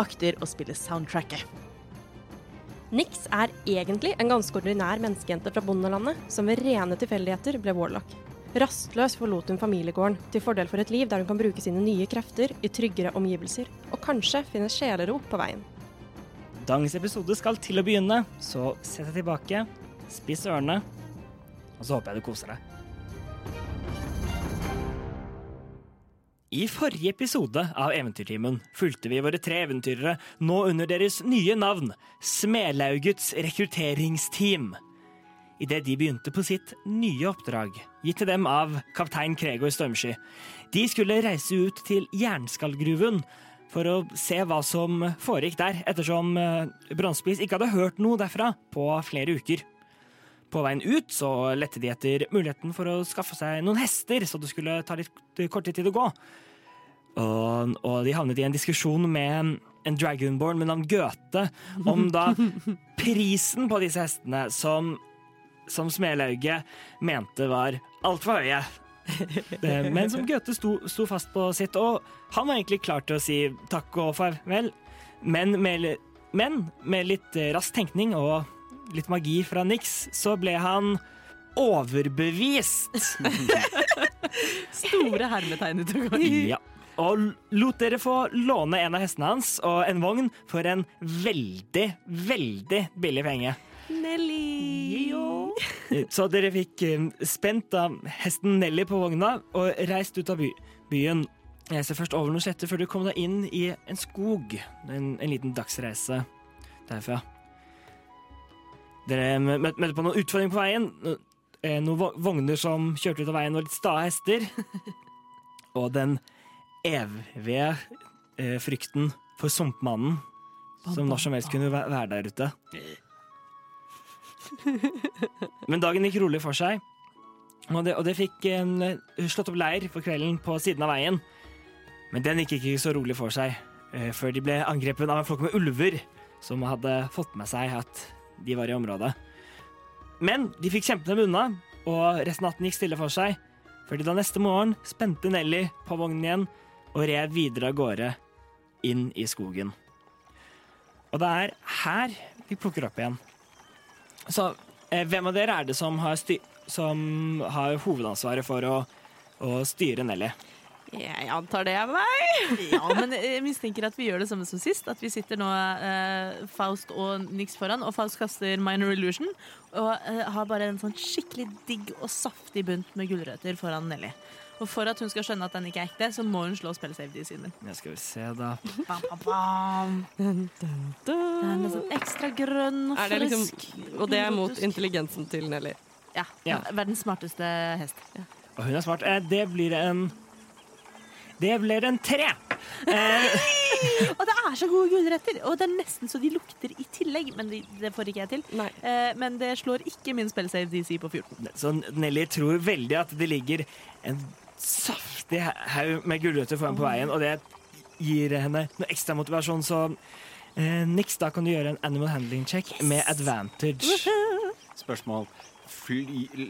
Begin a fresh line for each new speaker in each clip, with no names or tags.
akter å spille soundtracket.
Nix er egentlig en ganske ordinær menneskejente fra bondelandet, som ved rene tilfeldigheter ble warlock. Rastløs forlot hun familiegården, til fordel for et liv der hun kan bruke sine nye krefter i tryggere omgivelser, og kanskje finne sjelero på veien.
Dagens episode skal til å begynne, så sett deg tilbake, spiss ørene, og så håper jeg du koser deg. I forrige episode av Eventyrtimen fulgte vi våre tre eventyrere nå under deres nye navn, Smelaugets rekrutteringsteam. Idet de begynte på sitt nye oppdrag, gitt til dem av kaptein Kregor Stormsky. De skulle reise ut til Jernskallgruven for å se hva som foregikk der, ettersom eh, Bronsepiss ikke hadde hørt noe derfra på flere uker. På veien ut så lette de etter muligheten for å skaffe seg noen hester, så det skulle ta litt kortere tid å gå. Og, og de havnet i en diskusjon med en dragonborn med navn Goethe om da prisen på disse hestene, som, som Smelauget mente var altfor høye. Det- Men som Goethe sto, sto fast på sitt, og han var egentlig klar til å si takk og farvel. Men med, men med litt eh, rask tenkning og litt magi fra Nix, så ble han overbevist.
Store hermetegn i togangen.
Ja. Og l- lot dere få låne en av hestene hans og en vogn for en veldig, veldig billig penge.
Nelly!
Så dere fikk eh, spent da hesten Nelly på vogna og reist ut av by byen. Reiste først over noen sletter før du kom deg inn i en skog. En, en liten dagsreise derfra. Dere mø- møtte, møtte på noen utfordringer på veien. No- eh, Noen vo- vogner som kjørte ut av veien, var litt sta hester. Og den evige eh, frykten for sumpmannen, som når som helst kunne væ- være der ute. Men dagen gikk rolig for seg, og det, og det fikk en, eh, slått opp leir for kvelden på siden av veien. Men den gikk ikke så rolig for seg, eh, før de ble angrepet av en flokk med ulver som hadde fått med seg at de var i området. Men de fikk kjempet dem unna, og resten av natten gikk stille for seg, før de da neste morgen spente Nelly på vognen igjen og red videre av gårde inn i skogen. Og det er her vi plukker opp igjen. Så eh, hvem av dere er det som har, sty som har hovedansvaret for å, å styre Nelly?
Jeg antar det er meg.
Ja, men jeg mistenker at vi gjør det samme som sist. At vi sitter nå eh, Faust og Nix foran, og Faust kaster Minor Illusion. Og eh, har bare en sånn skikkelig digg og saftig bunt med gulrøtter foran Nelly. Og for at hun skal skjønne at den ikke er ekte, så må hun slå spillsavety sine.
Jeg skal vi se, da.
Bam, bam, bam. Den er liksom ekstra grønn og
Er det
frisk.
liksom, og det er mot intelligensen til Nelly.
Ja.
Ja.
Verdens smarteste hest. Ja.
Og hun er smart. Eh, det blir en Det blir en tre!
Og det er så gode gulrøtter! Og det er nesten så de lukter i tillegg, men de, det får ikke jeg til.
Nei.
Eh, men det slår ikke min spellsave DC på 14.
Så Nelly tror veldig at det ligger en saftig haug med gulrøtter foran på veien, og det gir henne noe ekstra motivasjon, så eh, Nix, da kan du gjøre en animal handling check med advantage.
Spørsmål. Fly,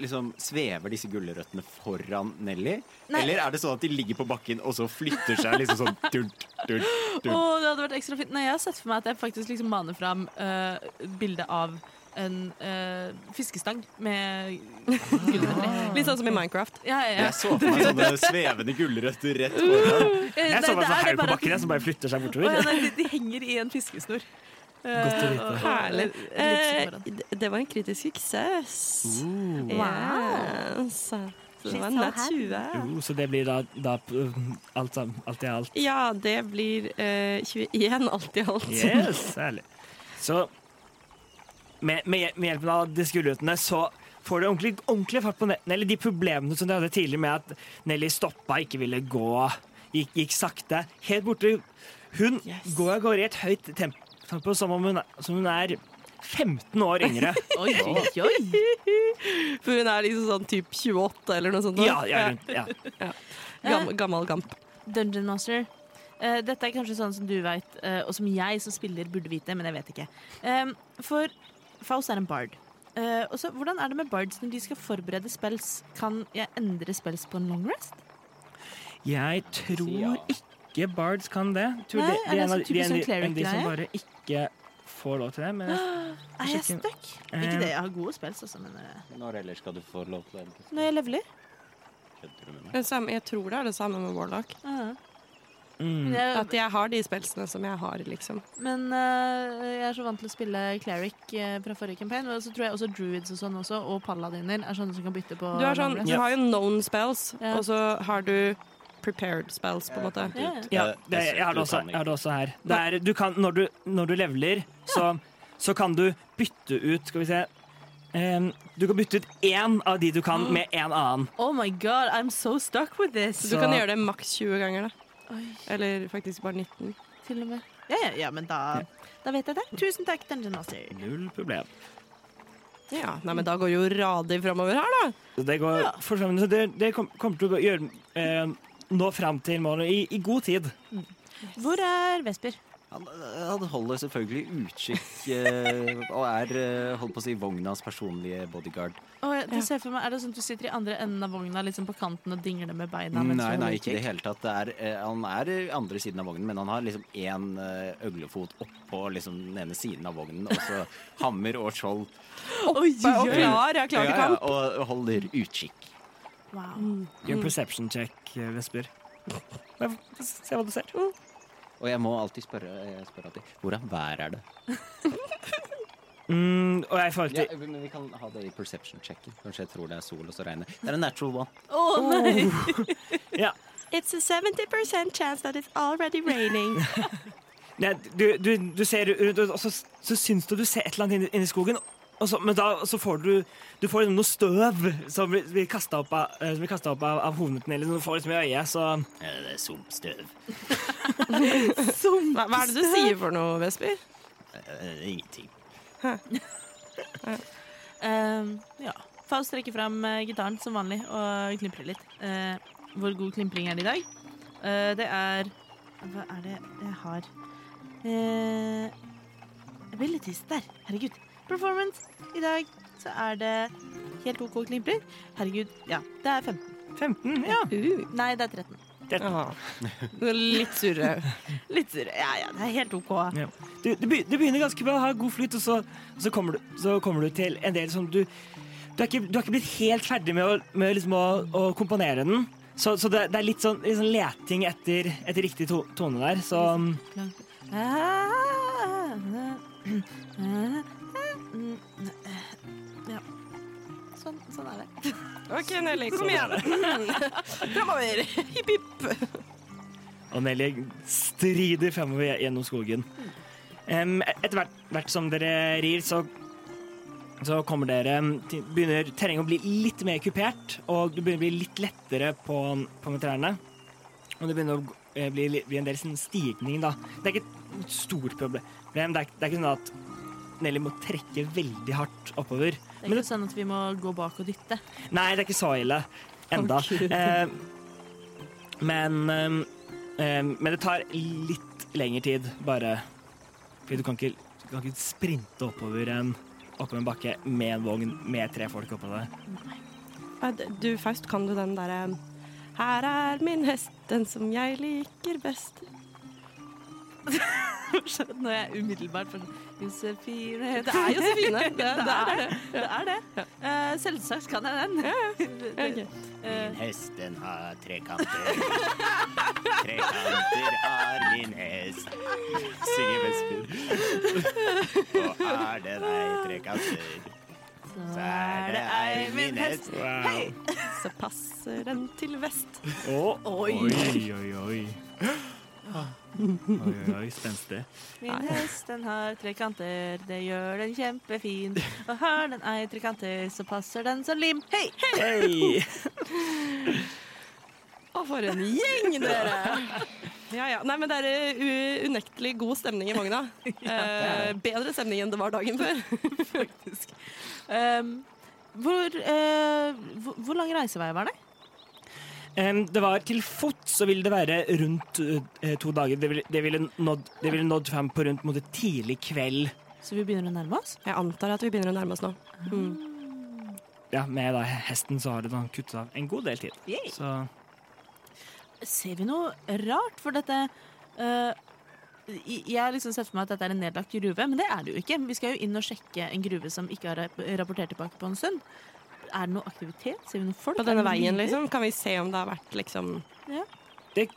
liksom, svever disse gulrøttene foran Nelly?
Nei.
Eller er det sånn at de ligger på bakken og så flytter seg liksom sånn dult, dult,
Å,
dult?
det hadde vært ekstra fint. Nei, jeg har sett for meg at jeg faktisk liksom maner fram uh, bildet av
eh, en eh, fiskestang med
Ah.
Litt sånn som i Minecraft.
Ja, ja, ja.
Jeg så for meg sånne svevende gulrøtter rett foran.
Eh,
Jeg så meg en sånn haug på bakken jeg, som bare flytter
Å,
seg
ja,
bortover.
nei, de, de henger i en fiskesnor.
Godt å vite.
Herlig.
Eh,
Eh, d- det var en kritisk suksess. Yes. Så det var en
She's so
nat
happy.
20.
Jo, så det blir da, da um, alt, sammen- alt i alt.
Ja, det blir eh, 21 alt i alt.
Yes, herlig. Så med, med, med hjelpen av disse gulrøttene så får du ordentlig, ordentlig fart på nettene. Eller de problemene som de hadde tidligere med at Nelly stoppa, ikke ville gå, gikk, gikk sakte. Helt borte. Hun går og går i et høyt temp- tempo som om hun, er- som hun er 15 år yngre.
Oi, oi, oi.
For hun er liksom sånn typ 28 eller noe sånt. nå.
ja, ja, rundt, ja.
Gam, gammel gamp.
Dungeon Master. Eh, dette er kanskje sånn som du veit, eh, og som jeg som spiller burde vite, men jeg vet ikke. Em, for Faust er en bard. Eh, og så, Hvordan er det med bards når de skal forberede spells? Kan jeg endre spells på en long rest?
Jeg tror ikke bards kan det. Tror
Nei,
det,
er det
en av-
sånn typisk
er en- en av
sånn
de som
cleric-greie?
bare ikke får lov til det. Men
Er jeg
Sjekke.
stuck? Ikke det, jeg har gode spells også, men eh,
Når ellers skal du få lov til å endre?
når jeg leveler.
Kødder du med meg?
Det samme- Jeg tror det er det samme med Warlock.
mm,
At jeg har de spelsene som jeg har, liksom.
Men eh, jeg er så vant til å spille Cleric eh, fra forrige campaign. Og så tror jeg også druids og sånn også, og paladiner er sånne som kan bytte på.
Du har, sånn,
long
du
rest.
har jo known spells,
Ja.
og så har du prepared spells, på en måte.
Ja, ja.
ja, det, jeg, har det også, jeg har det også her. Det er, du kan, når, du, når du leveler, så, så kan du bytte ut Skal vi se. em, du kan bytte ut én av de du kan, med en annen.
Oh my god, I'm so stuck with this!
Så du
Så-
kan gjøre det maks 20 ganger, da.
Oi,
Eller faktisk bare 19.
til og med. Ja, ja, ja men da, da vet jeg det. Tusen takk, Dungeon Master.
Null problem.
Ja, nei, men da går jo radig framover her, da.
Så det går for så vidt- så det, det kom, kommer til å gjøre em, nå fram til målet i, i god tid.
Hvor er Vesper?
Han, han holder selvfølgelig utkikk eh, og er eh, holdt på å si vognas personlige bodyguard.
Å, jeg- du ser for meg, Er det sånn at du sitter i andre enden av vogna liksom på kanten og dingler med beina? mens
Nei,
du
nei,
holder
ikke i det
sånn utkikk?
hele tatt. Det er, eh, han er i andre siden av vognen, men han har liksom én eh, øglefot oppå liksom, den ene siden av vognen, og så hammer og skjold.
Bare, og klar, jeg er klar til
Ja, ja,
kamp.
og holder utkikk.
Wow.
Gjør en perception check, eh, Vesper. Bare f- Se hva du ser.
Uh.
Og jeg må alltid spørre, eh, spørre alltid, hvordan vær er det?
Mm, og jeg får til
Ja, men vi kan ha det i perception-checken. Kanskje jeg tror det er sol og så regner. Det er en natural one.
Ja.
Oh, It's a 70 chance that it's already raining.
Nei, du, du, du ser rundt, og så, så syns du du ser et eller annet inni, inni skogen. Og så, men da så får du Du får liksom noe støv som blir- blir kasta opp av, eh, som blir kastet opp av, av hodene dine, eller noe du får liksom i øyet, så
Eh, Det er sumpstøv.
Hva, hva er det du sier for noe, Vesper?
Eh, Ingenting.
Ehm, ja. Faust trekker fram eh, gitaren som vanlig og klimprer litt. Eh, hvor god klimpring er det i dag? Eh, det er Hva er det jeg har uh, Abilities. Der. Herregud. Performance. I dag så er det helt OK klimpring. Herregud. Ja, det er 15.
15? Ja.
Uh.
Nei, det er 13.
Ja. Du er Litt surre.
Litt sur. Ja, ja, det er helt OK.
Du, du, be- du begynner ganske bra, har god flyt, og så, og så, kommer, du, så kommer du til en del som du Du er ikke, du er ikke blitt helt ferdig med å, med liksom å, å komponere den. Så, så det, det er litt sånn, litt sånn leting etter, etter riktig to, tone der, så
Ja. Sånn, sånn er det.
OK, Nelly, kom igjen. Framover. Hipp, hipp.
Og Nelly strider fremover gjennom skogen. Em, etter hvert, hvert som dere rir, så, så kommer dere til, Begynner terrenget å bli litt mer kupert, og det begynner å bli litt lettere på, på med trærne. Og det begynner å gå- eh, bli, li- bli en del sånn stigning, da. Det er ikke et stort problem. Det er, ikke- det er ikke sånn at Nelly må trekke veldig hardt oppover.
Det er ikke sånn at vi må gå bak og dytte.
Nei, det er ikke så ille enda. Eh, men, eh, eh, men det tar litt lengre tid, bare fordi du kan ikke, du kan ikke sprinte oppover en, oppover en bakke med en vogn med tre folk oppå deg.
Ja, d- Du, Faust, kan du den eh, derre Her er min hest, den som jeg liker best.
skjedd når jeg umiddelbart får sånn Josefine
Det er Josefine. Det, det er det.
Det er det. Eh, selvsagt kan jeg den.
Ok.
Eh,
Min hest, den har trekanter. Trekanter har min hest, synger Vesper. Og er det ei trekanter, så er det ei min hest.
Wow.
Så passer den til vest.
Å, oi, oi, oi. Oi, oi, oi spenstig.
Min hest den har tre kanter, det gjør den kjempefin. Og har den ei trekanter, så passer den som lim. Hei!
Hei!
Å, for en gjeng, dere! Ja, ja. Nei, men det er eh, u- unektelig god stemning i vogna. Eh, bedre stemning enn det var dagen før.
Faktisk. Ehm, hvor, eh, hvor, hvor lang reisevei var det?
Em, Eh, det var til fot, så ville det være rundt eh, to dager. Det ville, det ville, nådd, det ville nådd fram på rundt mot et tidlig kveld.
Så vi begynner å nærme oss?
Jeg antar at vi begynner å nærme oss nå. Mm.
Ja, med da hesten så har det da kuttet av en god del tid.
Yay.
Så
Ser vi noe rart? For dette eh, i- Jeg har liksom sett for meg at dette er en nedlagt gruve, men det er det jo ikke. Vi skal jo inn og sjekke en gruve som ikke har rap- rapportert tilbake på en stund. Er det noe aktivitet? Ser vi noen folk?
På
Er
denne
det noen
veien,
lyder?
liksom, kan vi se om det har vært liksom
det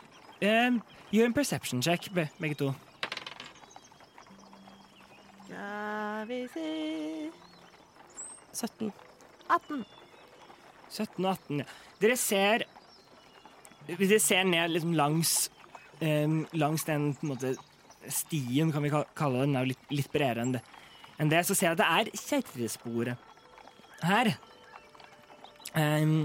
em, Gjør en perception check, be, begge to.
Skal vi se
17.
18.
17 og 18, ja. Dere ser Hvis dere ser ned liksom langs em, Langs den på en måte, stien, kan vi ka- kalle den. Den er jo litt, litt bredere enn det. enn det. Så ser jeg at det er kjerresporet her. Em,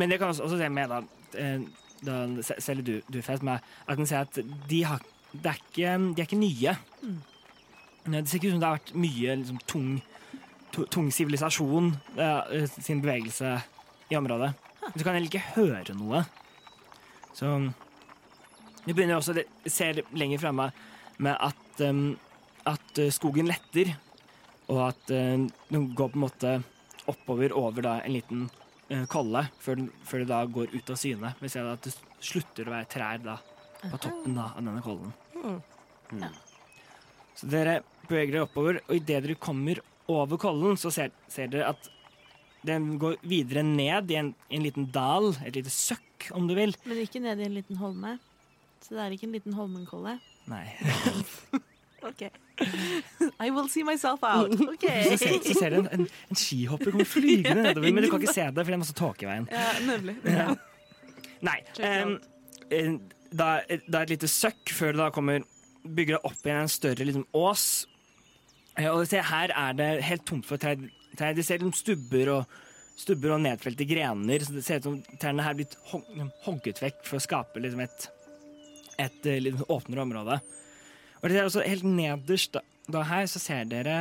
men dere kan også, også se med, da, eh, da se- Selv du, du Fest, med at den ser at de, har, det er ikke, de er ikke nye. Nei, Det ser ikke ut som det har vært mye liksom, tung tu- tung sivilisasjon eh, sin bevegelse i området. Du kan heller ikke høre noe. Så Du begynner også det- ser lenger fremme med at, em, at eh, skogen letter, og at eh, den går på en måte oppover over da, en liten eh, kolle, før, den- før det da går ut av syne. Vi ser da at det s- slutter å være trær da, på toppen da, av denne kollen.
Mm.
Så dere beveger dere oppover, og idet dere kommer over kollen, så ser, ser dere at den går videre ned i en, en liten dal, et lite søkk, om du vil.
Men ikke ned i en liten holme. Så det er ikke en liten Holmenkolle.
Nei.
OK. I will see myself out. OK.
Så ser, så ser dere en, en, en skihopper komme flygende nedover, men du kan ikke se det, for det er masse tåke i veien.
Ja, nemlig.
Nei. ehm, eh, da, da er et lite søkk før det da kommer Bygger det opp igjen en større liksom, ås. Eh, Og se, her er det helt tomt for trær. Trær- De ser liksom stubber og stubber og nedfelte grener. Så det ser ut som trærne her er blitt hog- hogget vekk for å skape liksom, et, et eh, litt åpnere område. Og det er også helt nederst da, da her så ser dere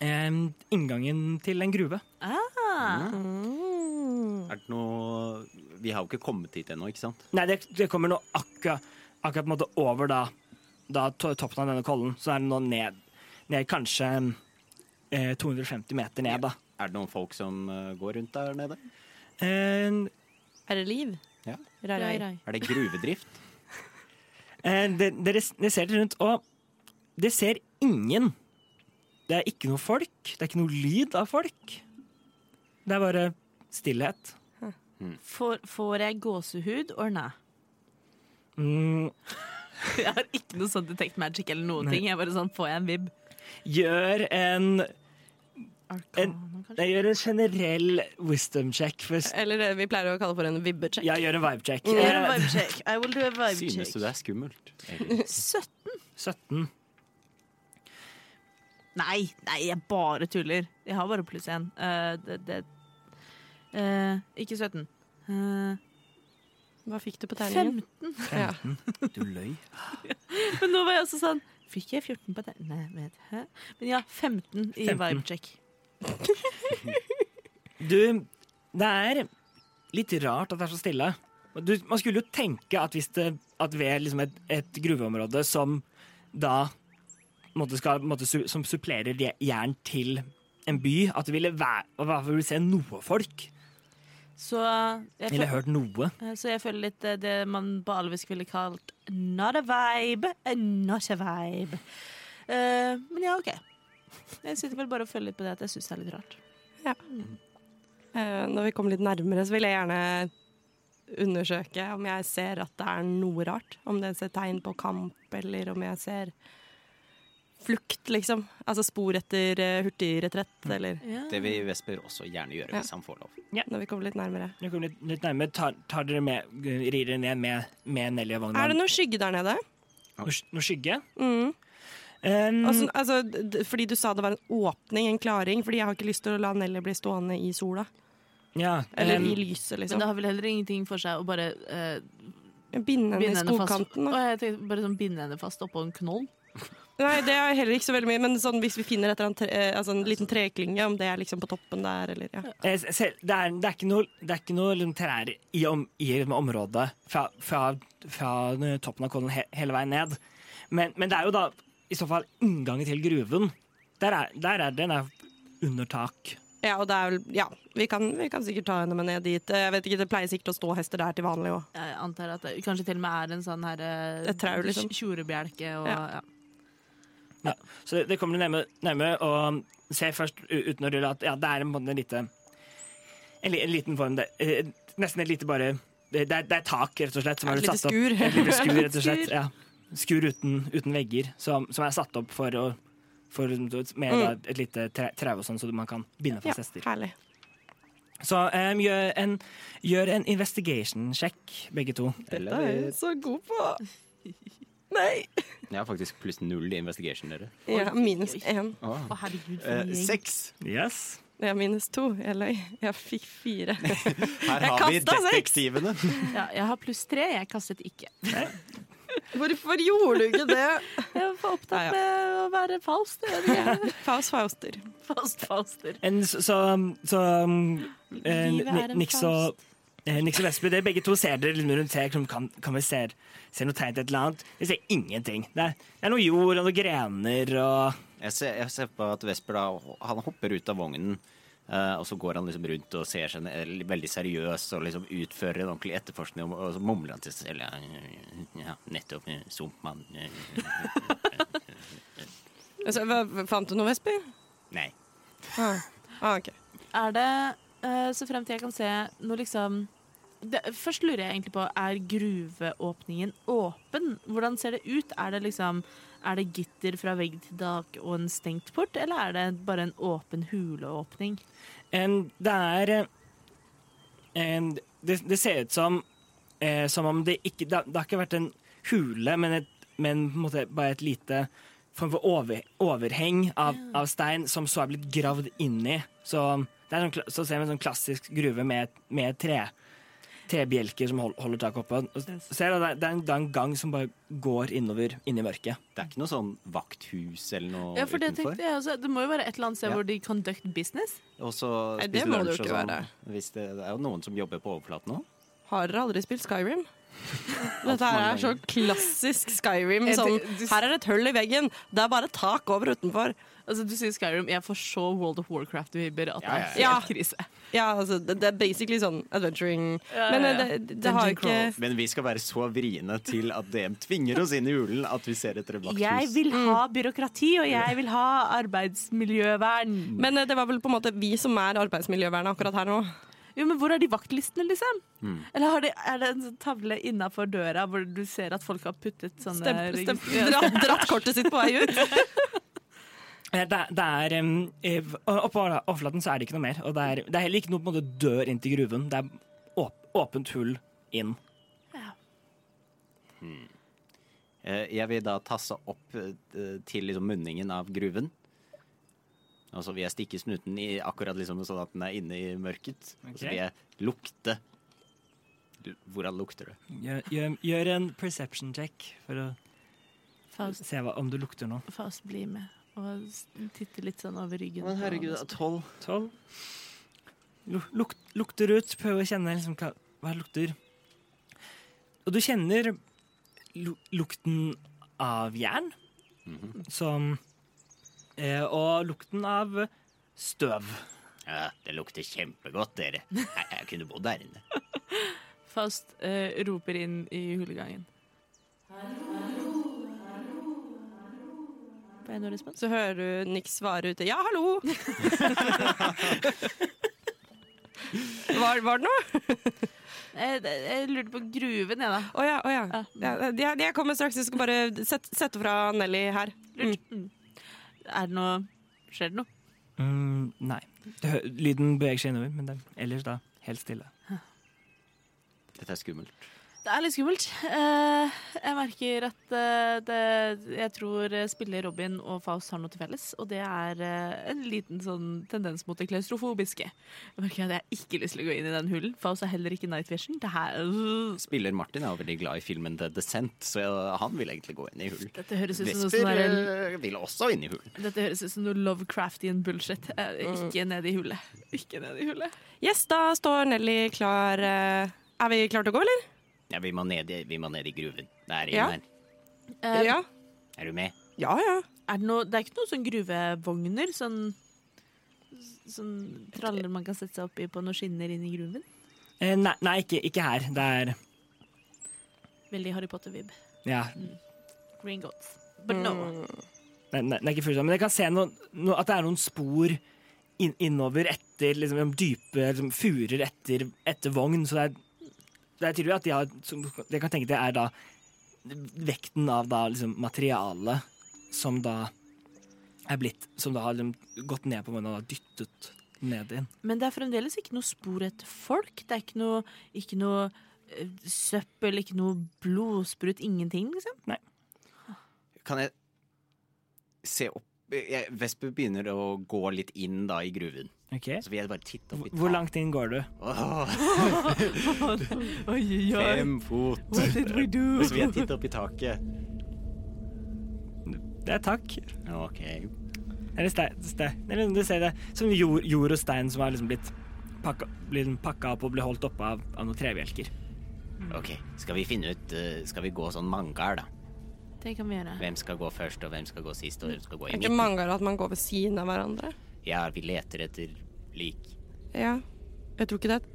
em, inngangen til en gruve.
Ah,
Mm.
Er det noe Vi har jo ikke kommet hit ennå, ikke sant?
Nei, det, det kommer nå akkurat, akkurat på en måte over da, da to- toppen av denne kollen. Så er det nå ned, ned kanskje eh, 250 meter ned, da.
Er det noen folk som eh, går rundt der nede?
Eh,
Er det liv?
Ja.
Rai, rai.
Er det gruvedrift?
eh, de- dere, dere ser dere rundt, og dere ser ingen. Det er ikke noe folk. Det er ikke noe lyd av folk. Det er bare stillhet.
Får, får jeg gåsehud or nei?
Mm,
Jeg har ikke noe sånn detect magic eller noen ting. Jeg bare sånn, Får jeg en vib?
gjør en
Arkana, kanskje?
Jeg gjør en generell wisdom check. For,
Eller det vi pleier å kalle for en vibbecheck.
jeg gjør en vibe check.
Jeg
Mm.
gjør en
Eh,
vibe check. I will do a vibe
Synes du
check.
det er sånn? skummelt? egentlig?
17?
17.
Nei, nei, jeg bare tuller. Jeg har bare pluss én. Eh, det, det eh, Ikke 17. Eh,
Hva fikk du på terningen?
15.
Ja.
Du løy.
Men nå var jeg også sånn Fikk jeg 14 på det? Nei, vet hæ? Men ja, 15 i
15.
vibe check.
Du, det er litt rart at det er så stille. Og Du, man skulle jo tenke at, hvis det, at ved liksom et, et gruveområde som da på en måte skal, på en måte, su- som supplerer je- jern til en by, at det ville væ- i hvert fall ville se noe folk.
Så
eh,
jeg,
Eller
føl
hørt noe.
så jeg føler litt eh, det man på alvisk ville kalt not a vibe, eh, not a vibe. Eh, men ja, OK. Jeg sitter vel bare og føler litt på det at jeg syns det er litt rart.
Eh, Når vi kommer litt nærmere, så vil jeg gjerne undersøke om jeg ser at det er noe rart. Om det ser tegn på kamp, eller om jeg ser flukt, liksom. Altså spor etter eh, hurtigretrett,
Mm.
eller
Det vil Vesper også gjerne gjøre
Mm. Ja.
hvis han får lov.
Når vi kommer litt nærmere.
Nå kommer litt, litt nærmere. Tar, tar dere med, rir dere ned med, med Nelly og
Er
Vagnar?
det noe skygge der nede?
Noe, sk- noe skygge?
Mm.
Mm.
Um,
Altså, altså, d- d- fordi du sa det var en åpning, en klaring. Fordi jeg har ikke lyst til å la Nelly bli stående i sola.
ja,
Eller
um,
i lyset,
Men det
liksom.
har vel heller ingenting for seg å bare eh,
Binde henne i
binde henne fast
skogkanten. Da.
Å, jeg tenkte bare sånn binde henne fast oppå en knoll.
Nei, det er heller ikke så veldig mye. Men sånn, hvis vi finner et eller annet tre, eh, altså en liten treklynge, om det er liksom på toppen der, eller ja.
Eh, se- se- det, er, det er ikke noe, det er ikke noe liksom, trær i, om, i liksom, området fra, fra, fra eh, toppen av kollen he, hele veien ned. Men, men det er jo da i så fall inngangen til gruven. Der er, der er den er under tak.
Ja, og det er vel Ja, vi kan, vi kan sikkert ta henne med ned dit. Eh, Jeg vet ikke, Det pleier sikkert å stå hester der til vanlig òg.
Jeg antar at det kanskje til og med er en sånn her eh,
Et trau, liksom.
tjorebjelke og ja.
Ja.
Så det, det kommer du nærme, nærme og ser først u- uten å rulle at ja, det er en, måte en, lite, en, li- en liten form det, eh, Nesten et lite bare det, det er, det er tak, rett og slett. Som
Et
er
lite
satt opp.
skur.
Et lite skur, rett og slett. Ja. Skur uten, uten vegger, som, som er satt opp for å for, liksom, med da, et lite tre- trau og sånn, så man kan binde
Mm. Ja,
fast hester.
herlig.
Så em, gjør en, gjør en investigation-sjekk, begge to.
Dette er jeg så god på. Nei!
Jeg har faktisk pluss null i investigation, dere.
Ja, minus én.
Å, herregud, for
Eh,
en gjeng.
seks.
Yes.
Ja, minus to. Jeg løy. Jeg fikk fire.
Her
Jeg
har vi
kastet seks.
detektivene.
Ja, jeg har pluss tre, jeg kastet ikke.
Hvorfor gjorde du ikke det?
Jeg var for opptatt
Ja, ja.
med å være falsk. det er det.
Faust Fauster.
Falsk falster.
En, så så, um, så eh,
Livet er
Ni-
en
Nix og eh, Nix og Vesper, det begge to ser dere liksom rundt her. Som kan, kan vi se, se noe tegn til et eller annet? Vi ser ingenting. Det er, det er noe jord og noen grener og
Jeg ser, jeg ser på at Vesper da, han hopper ut av vognen, eh, og så går han liksom rundt og ser seg ned- veldig seriøs og liksom utfører en ordentlig etterforskning, og, og så mumler han til seg selv. Ja, ja, nettopp. eh, Sumpmann. eh,
Altså, hva- hva- fant du noe, Vesper?
Nei.
Ah. Ah, ok.
Er det, eh, så frem til jeg kan se, noe liksom det, Først lurer jeg egentlig på, er gruveåpningen åpen? Hvordan ser det ut? Er det liksom er det gitter fra vegg til tak og en stengt port, eller er det bare en åpen huleåpning?
en, Det er eh, en, det, det ser ut som eh, Som om det ikke Det, har- det har ikke vært en hule, men, et, men på en måte bare et lite form for over, overheng av, av stein som så er blitt gravd inni. Så det er sånn, kla- så ser vi en sånn klassisk gruve med, med tre, trebjelker som hold, holder tak oppe. Og ser du, det, er- det, er en, det er en gang som bare går innover inn i mørket.
Det er ikke noe sånn vakthus eller noe
Ja, for Det
utenfor.
tenkte jeg også. Det må jo være et eller annet sted
Ja.
hvor de conduct business.
Og så
Nei, det
spiser
må det
lunsj og
jo ikke
sånn.
være.
Hvis det, det er jo noen som jobber på overflaten nå.
Har dere aldri spilt Skyrim?
Alt for
Dette her
mange
er så klassisk Skyrim.
Jeg
Sånn,
tenker- du s-
her er et hull i veggen, det er bare tak over utenfor.
Altså, Du sier Skyrim. Jeg får så World of Warcraft-vibber at
Ja, ja,
det er
ja.
helt krise.
Ja, altså, det, det er basically sånn adventuring.
Ja,
Men
ja,
eh,
ja.
det, det har
Dungeon
ikke
Men vi skal være så vriene til at DM tvinger oss inn i hulen at vi ser etter et vakthus.
Jeg vil ha byråkrati, og jeg vil ha arbeidsmiljøvern.
Men eh, det var vel på en måte vi som er arbeidsmiljøvernet akkurat her nå.
Jo, men Hvor er de vaktlistene, liksom? Eller har de, er det en sånn tavle innafor døra hvor du ser at folk har puttet sånne
Stemp, stemp,
registrer-
dratt, dratt kortet sitt på vei ut.
Eh, Det, det er em, eh, Oppå overflaten så er det ikke noe mer. Og det er, det er heller ikke noe på en måte dør inn til gruven. Det er åp, åpent hull inn.
Eh, Jeg vil da tasse opp eh, til liksom munningen av gruven. Altså, Og så vil jeg stikke snuten i akkurat liksom sånn at den er inne i mørket. Og så
Ok.
vil jeg lukte. L- Hvordan lukter det?
Gjør, gjør, gjør en perception check for å
Faust,
se hva, om du lukter noe.
Faust blir med og s- titter litt sånn over ryggen. på Nesbø.
tolv.
Tolv. Lu- Luk, lukter ut. Prøv å kjenne liksom, hva, hva det lukter. Og du kjenner lu, lukten av jern. Som eh, Og lukten av støv.
Ja, det lukter kjempegodt, dere. Jeg, jeg kunne bodd der inne.
Faust eh, roper inn i hulegangen. Får jeg noe respons?
Så hører du Nick svare ute 'ja, hallo'. var, var det noe?
Jeg, Eh, jeg lurte på gruven, jeg, da.
Å ja, å ja. ja. de- de- Jeg kommer straks, jeg skal bare sette, sette fra Nelly her. Mm.
Er det noe Skjer det noe?
Mm, nei. Det, hø- lyden beveger seg innover, men det, ellers da helt stille.
Dette er skummelt.
Det er litt skummelt. Eh, jeg merker at eh, det, jeg tror eh, spiller Robin og Faust har noe til felles, og det er eh, en liten sånn tendens mot det klaustrofobiske. Jeg merker at jeg har ikke lyst til å gå inn i den hulen. Faust er heller ikke night vision. Det her, øh,
Spiller Martin er jo veldig glad i filmen The Descent, så jeg- han vil egentlig gå inn i hull.
dette høres ut som noe
Vesper
sånn der,
eh, vil også inn i hull.
Dette høres ut som noe Lovecraftian bullshit. Eh, Ikke ned i hullet. Ikke ned i hullet.
Yes, da står Nelly klar. eh, Er vi klare til å gå, eller?
Ja, vi må ned, i- vi må ned i gruven. Det er inn
Ja.
her.
Eh,
ja.
Er du med?
Ja, ja.
Er det, noe, det er ikke noen sånn gruvevogner? Sånn, sånn traller man kan sette seg oppi på noen skinner inn i gruven?
Eh, nei, nei ikke, ikke her. Det er
Veldig Harry Potter-vib.
Ja.
Green goats. But no.
Nei, nei, det er ikke fullt, sånn. men jeg kan se noen, noe- at det er noen spor inn, innover etter liksom, dype liksom, furer etter, etter vogn. Så det er, det er tydelig at de har som, Jeg kan tenke det er da vekten av da liksom, materialet som da er blitt Som da har liksom, gått ned på vogna og da dyttet ned inn.
Men det er fremdeles ikke noe spor etter folk. Det er ikke noe, ikke noe eh, søppel, ikke noe blodsprut, ingenting, liksom.
Kan jeg se opp jeg, Vesper begynner å gå litt inn da i gruven.
Ok.
Så vil jeg bare titte opp i
Hvor langt inn går du?
Åh,
Oi, oi, oi.
fem fot.
What did we do?
Så vil jeg titte opp i taket.
Det er takk.
Ok.
Eller stein, Eller du ser det som jord, jord og stein som har liksom blitt pakka, blitt pakka opp og blir holdt oppe av, av noen trebjelker.
Ok, skal vi finne ut eh, Skal vi gå sånn mangar, da?
Det kan vi gjøre.
Hvem skal gå først, og hvem skal gå sist, og hvem skal gå i
Er ikke
midten?
mangaer at man går ved siden av hverandre?
Ja, vi leter etter lik.
Ja. Jeg tror ikke det er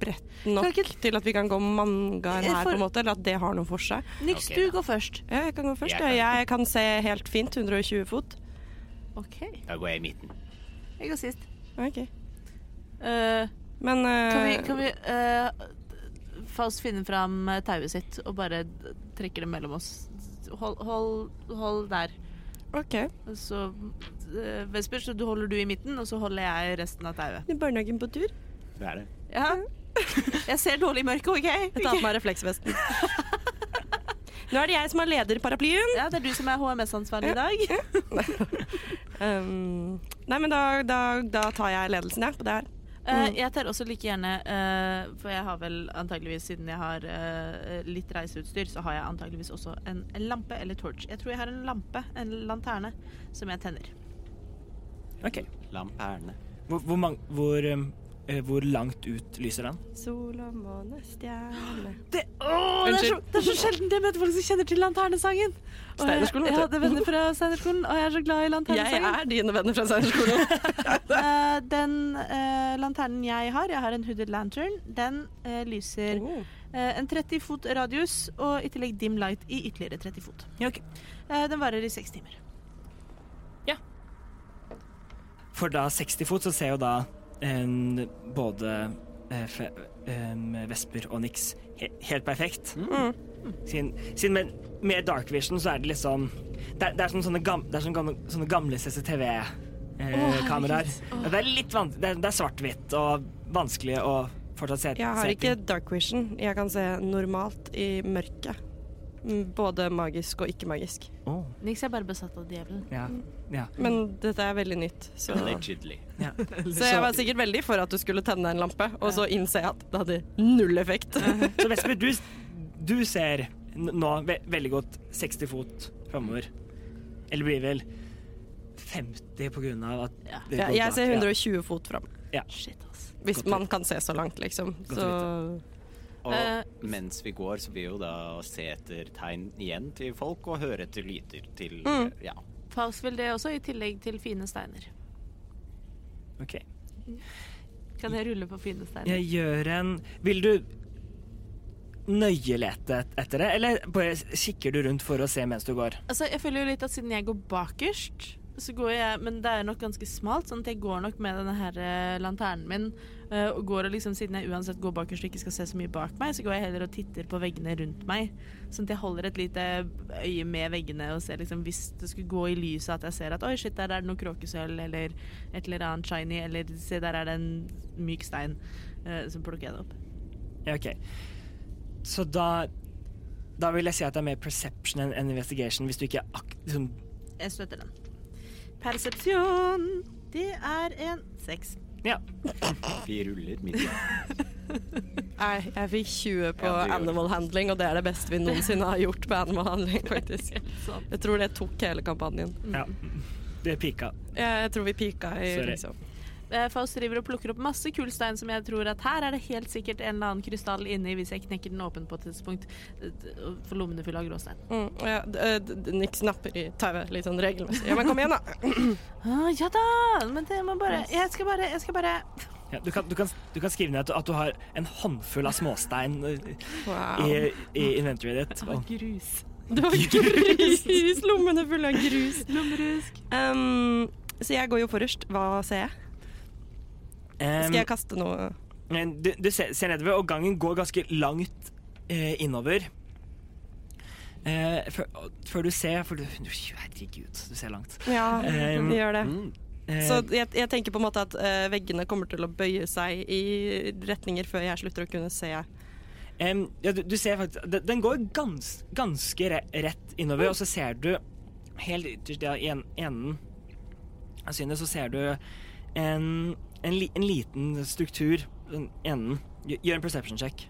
bredt nok til at vi kan gå mangaer her, på en måte, eller at det har noe for seg.
Niks,
Ok,
du
da.
går først.
Ja, jeg kan gå først.
Jeg kan-
Jeg kan, jeg kan se helt fint. 120 fot.
OK. Jeg
Da går jeg i midten.
går sist.
Ok.
Eh,
Men eh,
Kan vi, kan vi eh, Faust finne fram eh, tauet sitt og bare d- trekke det mellom oss? Hold, hold, hold der.
OK.
Så eh, Vesper, så du holder du i midten, og så holder jeg resten av tauet.
I barnehagen på tur.
Det er det.
Ja. Jeg ser dårlig i mørket, OK?
Jeg tar på meg refleksvesten. Nå er det jeg som er leder i paraplyen.
Ja, det er du som er HMS-ansvarlig i dag.
Um, nei, men da, da, da tar jeg ledelsen, jeg, på det her.
Eh, jeg tar også like gjerne, eh, for jeg har vel antageligvis, siden jeg har eh, litt reiseutstyr, så har jeg antageligvis også en lampe eller torch. Jeg tror jeg har en lampe, en lanterne, som jeg tenner.
Ok.
Lamperne.
Hvor, hvor, mang, hvor, um, eh, hvor langt ut lyser den?
Sol og måne, stjerne
Det, åh, det, er så, det er så sjelden jeg møter folk som kjenner til lanternesangen. Og jeg-
Steinerskolen, vet
Jeg
du.
hadde venner fra Steinerskolen, og jeg er så glad i
Jeg
lanternesangen.
er dine venner fra Steinerskolen.
Eh, den eh, lanternen jeg har, jeg har en hooded lantern, den eh,
Oh.
lyser eh, en 30 fot radius, og i tillegg dim light i ytterligere 30 fot.
Ja, ok.
Eh, den varer i seks timer.
For da 60 fot så ser jo da en, både eh, fe, em, Vesper og Nix he, helt perfekt.
Mm.
Siden, siden med, med Dark Vision så er det litt sånn Det er, det er som sånne, gam, det er som gamle, sånne gamle
Å,
CCTV-kameraer.
herregud. Å.
eh, det er litt van, det er, det er svart-hvitt og vanskelig å fortsatt se,
Jeg har
se
ikke
ting.
dark vision. Jeg kan se normalt i mørket. Mm, Både magisk og ikke-magisk.
Å,
Nix er bare besatt av djevelen.
ja, ja.
Mm. Men dette er veldig nytt. Så.
Allegedly.
Ja.
så jeg var sikkert veldig for at du skulle tenne en lampe, og så innse jeg at det hadde null effekt.
Så Vesper, du, du ser n- nå ve veldig godt 60 fot framover. Eller blir vel 50 på grunn av at
Ja.
det
Ja,
går
jeg
bak.
ser 120 fot fram.
Shit, ass.
Hvis man kan se så langt, liksom.
å
Så
Og
Eh.
mens vi går, så vil jo da se etter tegn igjen til folk, og høre etter lyder til Ja.
Faust vil det også, i tillegg til fine steiner.
Ja. Ok.
Kan jeg rulle på finnestein?
Jeg gjør en Vil du nøyelete et- etter det, eller bare kikker du rundt for å se mens du går?
Altså, jeg føler jo litt at siden jeg går bakerst, så går jeg Men det er nok ganske smalt, sånn at jeg går nok med denne her eh, lanternen min. eh, og går og liksom, Siden jeg uansett går bakerst og ikke skal se så mye bak meg, så går jeg heller og titter på veggene rundt meg. Sånn at jeg holder et lite øye med veggene og ser liksom hvis det skulle gå i lyset at jeg ser at oi, shit, der er det noe kråkesølv eller et eller annet shiny, eller se, der er det en myk stein. eh, så plukker jeg det opp.
Ja, OK. Så da Da vil jeg si at det er mer perception enn enn investigation, hvis du ikke ak liksom,
Jeg støtter den. Persepsjon! Det er en seks.
Ja.
Vi ruller midt i.
Nei, jeg fikk
Ja, du
20 på
gjorde det.
animal handling, og det er det beste vi noensinne har gjort på animal handling, faktisk.
sant.
Jeg tror det tok hele kampanjen.
ja. Det pika.
Jeg tror vi pika i
Sorry.
liksom.
Eh, Faust driver og plukker opp masse kul stein som jeg tror at her er det helt sikkert en eller annen krystall inni hvis jeg knekker den åpen på et tidspunkt. eh, og får lommene fulle av gråstein.
mm, og jeg- d- d- d- Nick snapper i tauet litt sånn regelmessig. Ja, men kom igjen, da!
Ah, ja da! Men det må bare Jeg skal bare Jeg skal bare
Ja, du, kan, du, kan, du kan skrive ned at du, at du har en håndfull av småstein eh,
Wow.
i, i inventoryet ditt.
Å,
Og,
grus.
Det var grus! Lommene fulle av grus.
Lommerusk.
Um, så jeg går jo forrest. Hva ser jeg?
Em,
Skal jeg kaste noe?
Men Du, du ser, ser nedover, og gangen går ganske langt eh, innover. Eh, før, og- før du ser for du, Herregud, du ser langt.
Ja,
Um,
vi gjør det.
Mm.
Eh,
Så jeg, jeg tenker på en måte at eh, veggene kommer til å bøye seg i retninger før jeg slutter å kunne se.
em, ja, du, du ser faktisk Den, den går gans, ganske re, rett innover, og så ser du helt ytterst ja, i en- enden av synet, så ser du en, en, li, en liten struktur den enden. Gjør- Gjør en perception check.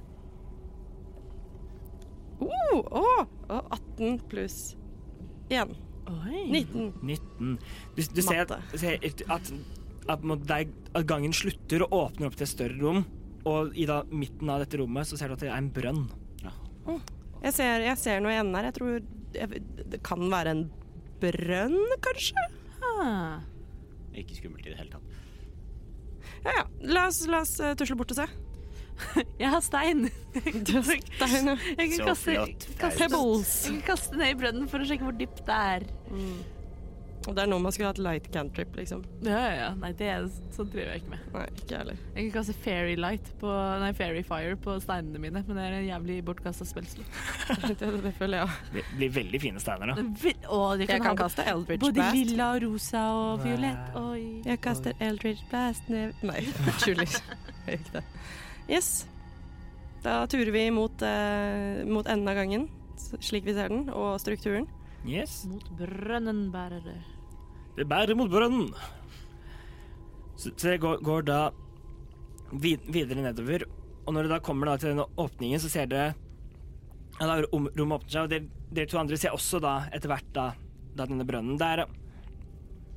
Oh, oh, oh, 18 pluss 1.
Oi.
19.
19. Du, du ser, at,
Matte.
ser at, at, på en måte deg- at gangen slutter og åpner opp til et større rom. Og i da, midten av dette rommet så ser du at det er en brønn.
Jeg ser, jeg ser noe i enden her. Jeg tror jeg, det kan være en brønn, kanskje?
Ah.
Ikke skummelt i det hele tatt.
Ja, ja. La oss, la oss eh, tusle bort og se.
Jeg har stein.
Stein, ja.
Jeg kan
Så
kaste,
flott,
kaste,
Pebbles.
jeg kan kaste ned i brønnen for å sjekke hvor dypt det er.
Mm. Og det er nå man skulle hatt light cantrip, liksom.
Ja, ja, ja. Nei, det er, sånn driver jeg ikke med.
Nei, ikke jeg heller.
Jeg kan kaste fairy light på, nei, fairy fire på steinene mine, men det er en jævlig bortkasta spillslott.
Det, det føler jeg òg.
Det blir veldig fine steiner, da.
Jeg
Jeg kan kaste Eldridge
både
Blast.
lilla og rosa og fiolett.
Wow.
Oi.
Jeg kaster Eldridge Blast ned Nei, tuller. Jeg gjør ikke det. Yes. Da turer vi mot, eh, mot enden av gangen, s- slik vi ser den, og strukturen.
Yes.
Mot brønnenbærere.
Det bærer mot brønnen. Så, så dere går, går da vid, videre nedover, og når dere da kommer da til denne åpningen, så ser dere ja, da rom, rommet åpner seg, og dere, dere to andre ser også da etter hvert da, da denne brønnen. Det er,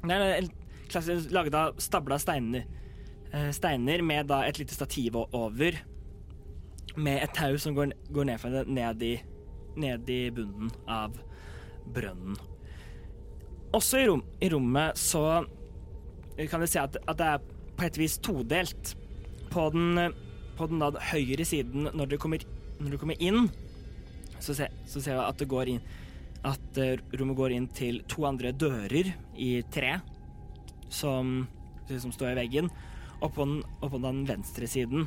det er en klasse laget av stabla steiner, eh, steiner med da et lite stativ o- over, med et tau som går, går ned, fra det- ned, i, ned i bunnen av brønnen også i, rom, i rommet så eh, kan vi se at, at det er på et vis todelt. På den, på den da høyre siden når du kommer, når du kommer inn, så, se, så ser vi at det går inn at eh, rommet går inn til to andre dører i tre som, som står i veggen. Og på, den, og på den venstre siden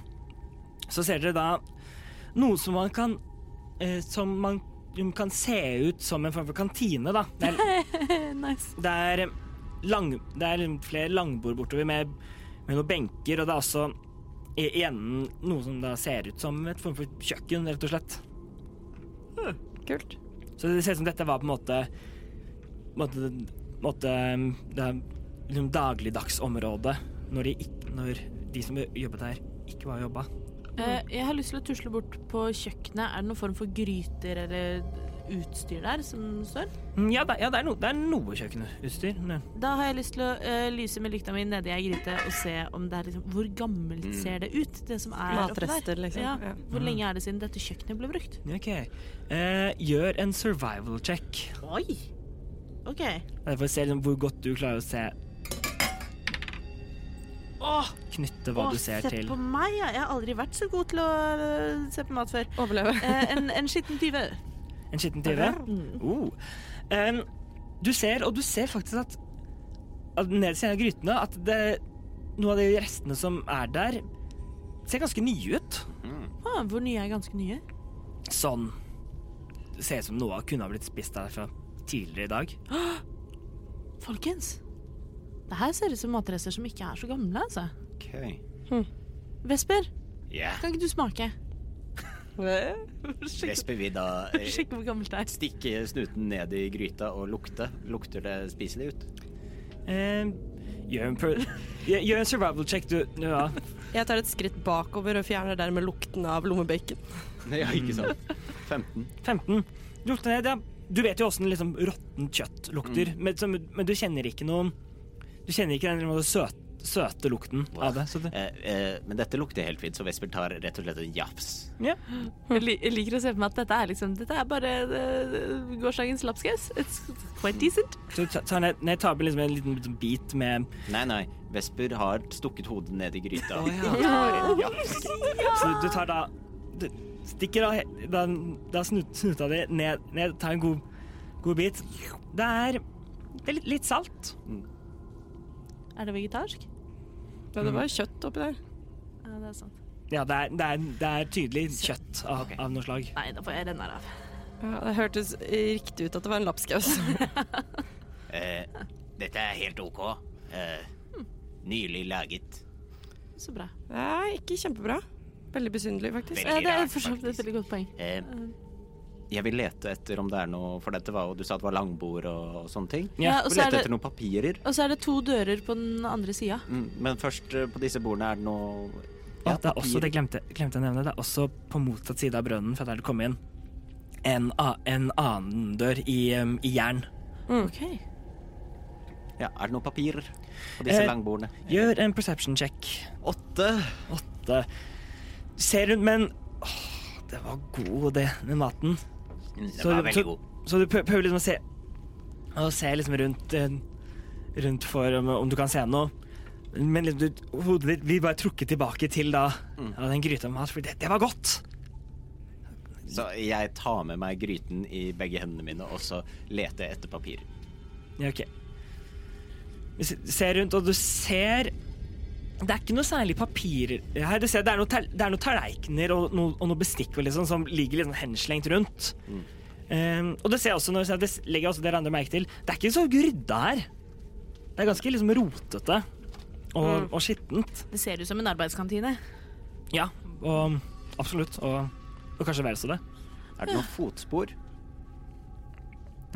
så ser dere da noe som man kan eh, Som man kan se ut som en form for kantine, da. Det er
nice.
det er, lang, det er flere langbord bortover med, med noen benker, og det er også i i enden noe som da ser ut som et form for kjøkken, rett og slett.
Kult.
Så det ser ut som dette var på en måte, på en måte, på en måte um, det er liksom dagligdagsområdet når de, ikk- når de som jobbet her, ikke var og jobba.
Eh, jeg har lyst til å tusle bort på kjøkkenet. Er det noen form for gryter eller utstyr der som står?
Mm, Ja, det, ja, det, er, no, det er noe kjøkkenutstyr. Ne-
Da har jeg lyst til å eh, lyse med lykta mi nedi ei gryte og se om det er liksom Hvor gammelt
Mm.
ser det ut, det som er oppi
Matrester,
der?
liksom.
Ja.
Ja.
Hvor lenge er det siden dette kjøkkenet ble brukt?
Ok. Eh, gjør en survival check.
Oi! OK.
Derfor ser liksom hvor godt du klarer å se.
Å, Åh,
Knytte hva
åh,
du ser
se
til.
på meg, ja. Jeg har aldri vært så god til å øh, se på mat før.
Overleve.
Eh, en, en skitten tyve.
En skitten tyve?
Mm.
Oh. Em, du ser, og du ser faktisk at, at nederst i en av grytene at det, noen av de restene som er der, ser ganske nye ut.
Mm,
Ah, hvor nye er ganske nye?
Sånn. Det ser ut som noe kunne ha blitt spist der fra tidligere i dag.
Folkens, det her ser ut som matrester som ikke er så gamle, altså.
Ok.
Vesper,
Ja.
kan ikke du smake?
Vesper vil da eh,
Sjekk hvor gammelt det er.
stikke snuten ned i gryta og lukte. Lukter det spiselig ut?
Em, gjør, en per, gjør gjør en survival check, du. Ja.
Jeg tar et skritt bakover og fjerner dermed lukten av lommebacon.
Ja, ikke sant? 15.
15. Du lukter ned, ja. Du vet jo åssen liksom, råttent kjøtt lukter, men, som- men du kjenner ikke noe Du kjenner ikke den måte, søt, søte lukten av det. Så det
Eh, eh, men dette lukter helt fint, så Vesper tar rett og slett en jafs.
ja.
Jeg li- jeg liker å se for meg at dette er liksom Dette er bare øh, gårsdagens lapskaus. It's quite decent.
Så ta- tar ned, ned tar med liksom en liten, liten bit med
Nei, nei. Vesper har stukket hodet ned i gryta. Jafs.
Så du tar da du Stikker da, he- da, da snut, snuta di ned, ned tar en god, god bit. Det er, det er litt, litt salt.
Er det vegetarsk?
Ja, det var jo kjøtt oppi der.
Ja, det er sant.
Ja, det er, det er, det er tydelig kjøtt av, av noe slag.
Nei, da får jeg renne her av.
Ja, det hørtes riktig ut at det var en lapskaus.
Eh, dette er helt OK. Eh, nylig laget.
Så bra.
Nei, ikke kjempebra. Veldig besynderlig, faktisk.
Veldig
Ja, det er
rart,
for så vidt et
faktisk.
veldig godt poeng.
Eh, jeg vil lete etter om det er noe For dette var jo Du sa det var langbord og, og sånne ting.
Ja,
Jeg
og
vil
så er
lete
det,
etter noen papirer.
og så er det to dører på den andre sida.
Mm, men først eh, på disse bordene er det noe
Ja, det er også, det glemte, glemte jeg å nevne, det er også på motsatt side av brønnen fra der du kom inn, en, a- en annen dør i, um, i jern.
Mm.
OK.
Ja, er det noen papirer på disse
Eh,
langbordene?
Gjør en perception check.
Åtte.
Det ser rundt, men åh, det var god, det, den maten.
Mm, Det
Så
var
du-
veldig
så-
god.
Så du prø- prøver liksom å se Å se liksom rundt eh, Rundt for om, om du kan se noe Men liksom, du, hodet ditt blir bare trukket tilbake til da
Mm.
ja, Den gryta med mat For det, det var godt
Så jeg tar med meg gryten i begge hendene mine og så leter jeg etter papir.
Ja, ok Du se- ser rundt og du ser Det er ikke noe særlig papirer her Du ser det er noen tal- det er noen tallerkener og noe, og noe bestikk og liksom, Som ligger liksom henslengt rundt Eh, Og det ser jeg også når du ser Det legger jeg også dere andre merke til Det er ikke så rydda her Det er ganske liksom rotete Og, og skittent
Det ser ut som en arbeidskantine.
Ja, og absolutt Og, og kanskje vel så det
Er det noen fotspor?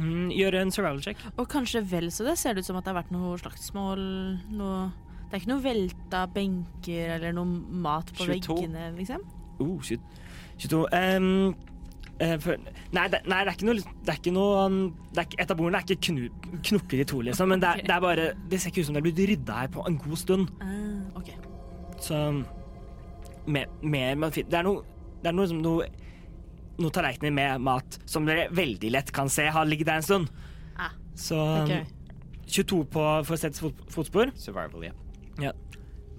mm, Gjør en survival check
Og kanskje vel så det ser det ut som at det har vært noe slagsmål. Noe Det er ikke noe velta benker eller noe mat på
22.
veggene, liksom.
Oh, shit. 22. ehm, eh, for, nei, det, nei, det er ikke noe, det er ikke noe um, det er ikke, Et av bordene er ikke knu, knukket i to, liksom, men det er, det er bare Det ser ikke ut som det er blitt rydda her på en god stund.
Ah, OK.
Så mer, mer man fin- Det er noe, det er noe, som noe noen tallerkener med mat som dere veldig lett kan se har ligget der en stund.
Ah.
Så um, 22 på for å sette fot, fotspor.
Survival, ja.
Ja.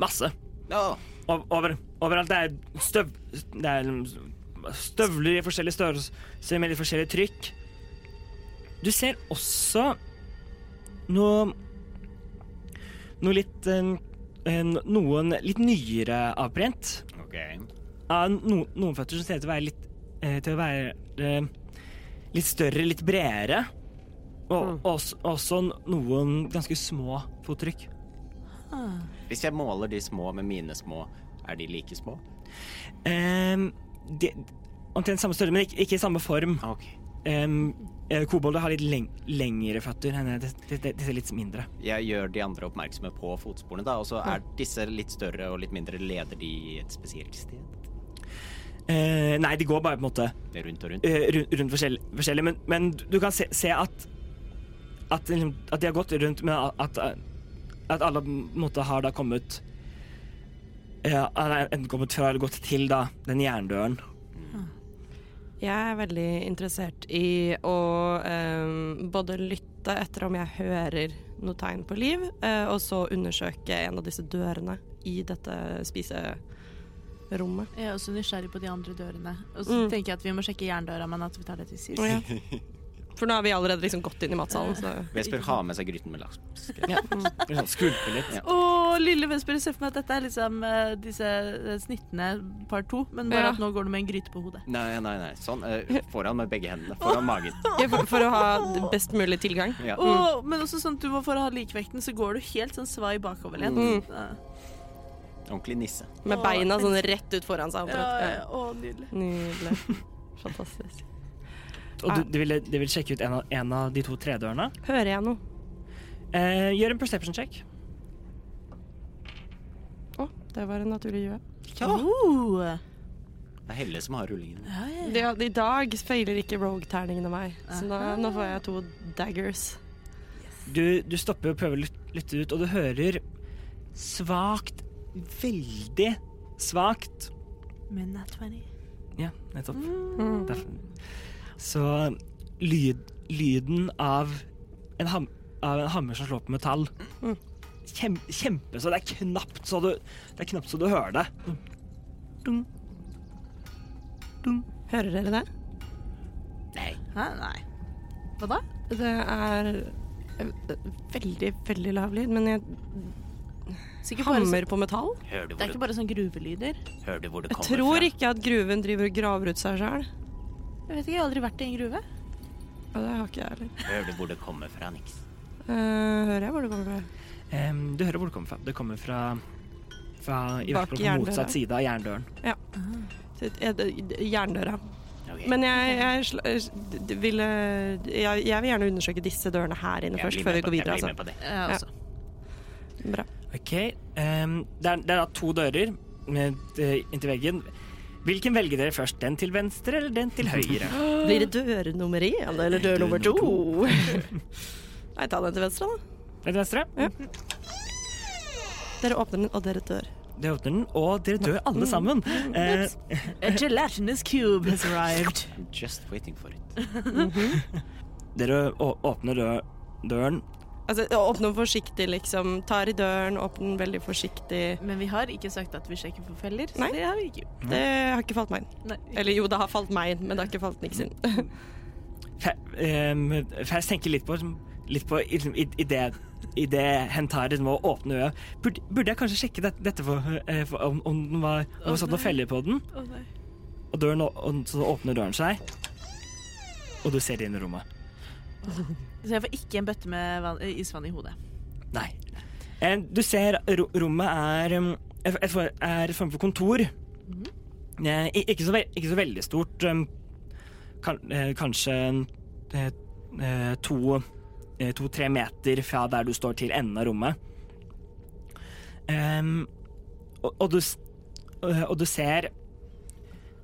Masse.
Å,
Ov- over, overalt. Det er støv... Det er liksom støvler i forskjellige størrelser med litt forskjellig trykk. Du ser også noe Noe litt eh, eh, Noen litt nyere avbrent.
ok.
Av no, noen føtter som ser ut til å være litt eh, Til å være eh, litt større, litt bredere. Og også, også noen ganske små fottrykk.
Hvis jeg måler de små med mine små, er de like små?
Um, det, omtrent samme størrelse, men ikke, ikke i samme form.
Ah,
Ok.
Um, eh, Kobolder har litt leng lengre føtter enn eh, disse disse- disse litt mindre.
Jeg gjør de andre oppmerksomme på fotsporene, da, og så er disse litt større og litt mindre. Leder de et spesielt sted?
Eh, nei, de går bare på en måte
Rundt og rundt?
eh, rundt, rundt forskjellig, forskjellig men, men du kan se, se at, at liksom, At de har gått rundt, men at, at alle på en måte har da kommet ja, eller enten kommet fra eller gått til da, den jerndøren.
Jeg er veldig interessert i å eh, både lytte etter om jeg hører noe tegn på liv, eh, og så undersøke en av disse dørene i dette spiserommet.
Jeg er også nysgjerrig på de andre dørene. Og så
Mm.
tenker jeg at vi må sjekke jerndøra, men at vi tar det til sist.
Ja. For nå har vi allerede liksom gått inn i matsalen, så
Vesper har med seg gryten med laks.
Liksom Skvulpe litt.
Ja.
Og lille Vesper, jeg ser for meg at dette er liksom eh, disse eh, snittene par to, men bare
Ja.
at nå går du med en gryte på hodet.
Nei, nei, nei. Sånn. eh, Foran med begge hendene. Foran magen.
ja, for, for å ha best mulig tilgang.
Ja.
Mm.
Og, men også sånn at du må for å ha likvekten, så går du helt sånn svai bakoverlent.
Mm.
Ja.
Ordentlig nisse.
Med
Å,
beina
jeg
sånn rett ut foran seg.
Ja,
omtrent.
ja. Å, nydelig.
Nydelig. Fantastisk.
Og du, du, vil, du vil sjekke ut en av, en av de to tredørene.
Hører jeg noe?
Eh, gjør en perception check.
Å, det var en naturlig gjø.
Oh.
Det er Helle som har rullingen.
Ja, ja.
Det, I dag feiler ikke rogue-terningene meg, så nå, nå får jeg to daggers.
Du, du stopper og prøver å lyt- lytte ut, og du hører svakt, veldig svakt
Men nat 20.
Ja,
Mm.
nettopp.
Mm.
Derfor. Så lyd, lyden av en, ham, av en hammer som slår på metall
Mm.
Kjem, Kjempe, så det er knapt så du, det er knapt så du hører det.
Hører dere det?
Hæ, nei. Hva da?
Det er eh, veldig, veldig lav lyd, men jeg
Sikkert bare sånn,
hammer på metall.
Hører du
det er
hvor
ikke
det,
bare sånn gruvelyder.
hører du hvor det
Jeg
kommer
tror
fra?
ikke at gruven driver og graver ut seg sjøl.
Jeg vet ikke, jeg har aldri vært i en gruve.
Ja, det har ikke jeg heller.
Hører du hvor det kommer fra, Nix?
Eh, hører jeg hvor det kommer fra?
Em, du hører hvor det kommer fra. Det kommer fra, fra i
Bak
hvert fall på
jerndøra.
motsatt side av jerndøren.
Så, eh, det- Jerndøra.
Ok.
Men jeg, jeg, sl- eh, d- d- ville jeg, jeg vil gjerne undersøke disse dørene her inne
Jeg
først,
blir
før
med
vi
på-
går videre.
Jeg blir med
Altså.
på det.
Jeg også.
Bra.
Ok, ehm, det, er, det er da to dører med, eh, inntil veggen. Hvilken velger dere først? Den til venstre eller den til høyre?
Blir det dør nummer én eller dør nummer to?
Nei, ta den til venstre, da.
Den til venstre. Mm,
Dere åpner den, og dere dør.
Dere åpner den, og dere dør alle sammen. Eh,
A gelatinous cube has arrived.
I'm Just waiting for it.
dere å- åpner dø- døren.
Altså, åpne den forsiktig, liksom. Tar i døren, åpne den veldig forsiktig.
Men vi har ikke sagt at vi sjekker for feller, så
Nei.
det har vi ikke gjort.
Det har ikke falt meg inn.
Nei.
Eller jo, det har falt meg inn, men det har ikke falt Nix inn.
Fe- ehm, Fast tenker litt på, liksom, litt på i, i, i det i det hentaren må åpne øyet. Burde, burde jeg kanskje sjekke det, dette for, eh, for, om, om den var om det var satt noen feller på den?
Å, nei.
Og, døren, å- og så åpner døren seg, og du ser inn i rommet.
Så jeg får ikke en bøtte med vann, eh, isvann i hodet.
Nei. Eh, Du ser ro- rommet er um, et et for- er et form for kontor. Eh, i- Ikke så, ve ikke så veldig stort. um, kan- eh, Kanskje eh, eh, to eh, to-tre meter fra der du står til enden av rommet. Em, og, og, du, s- eh, og du ser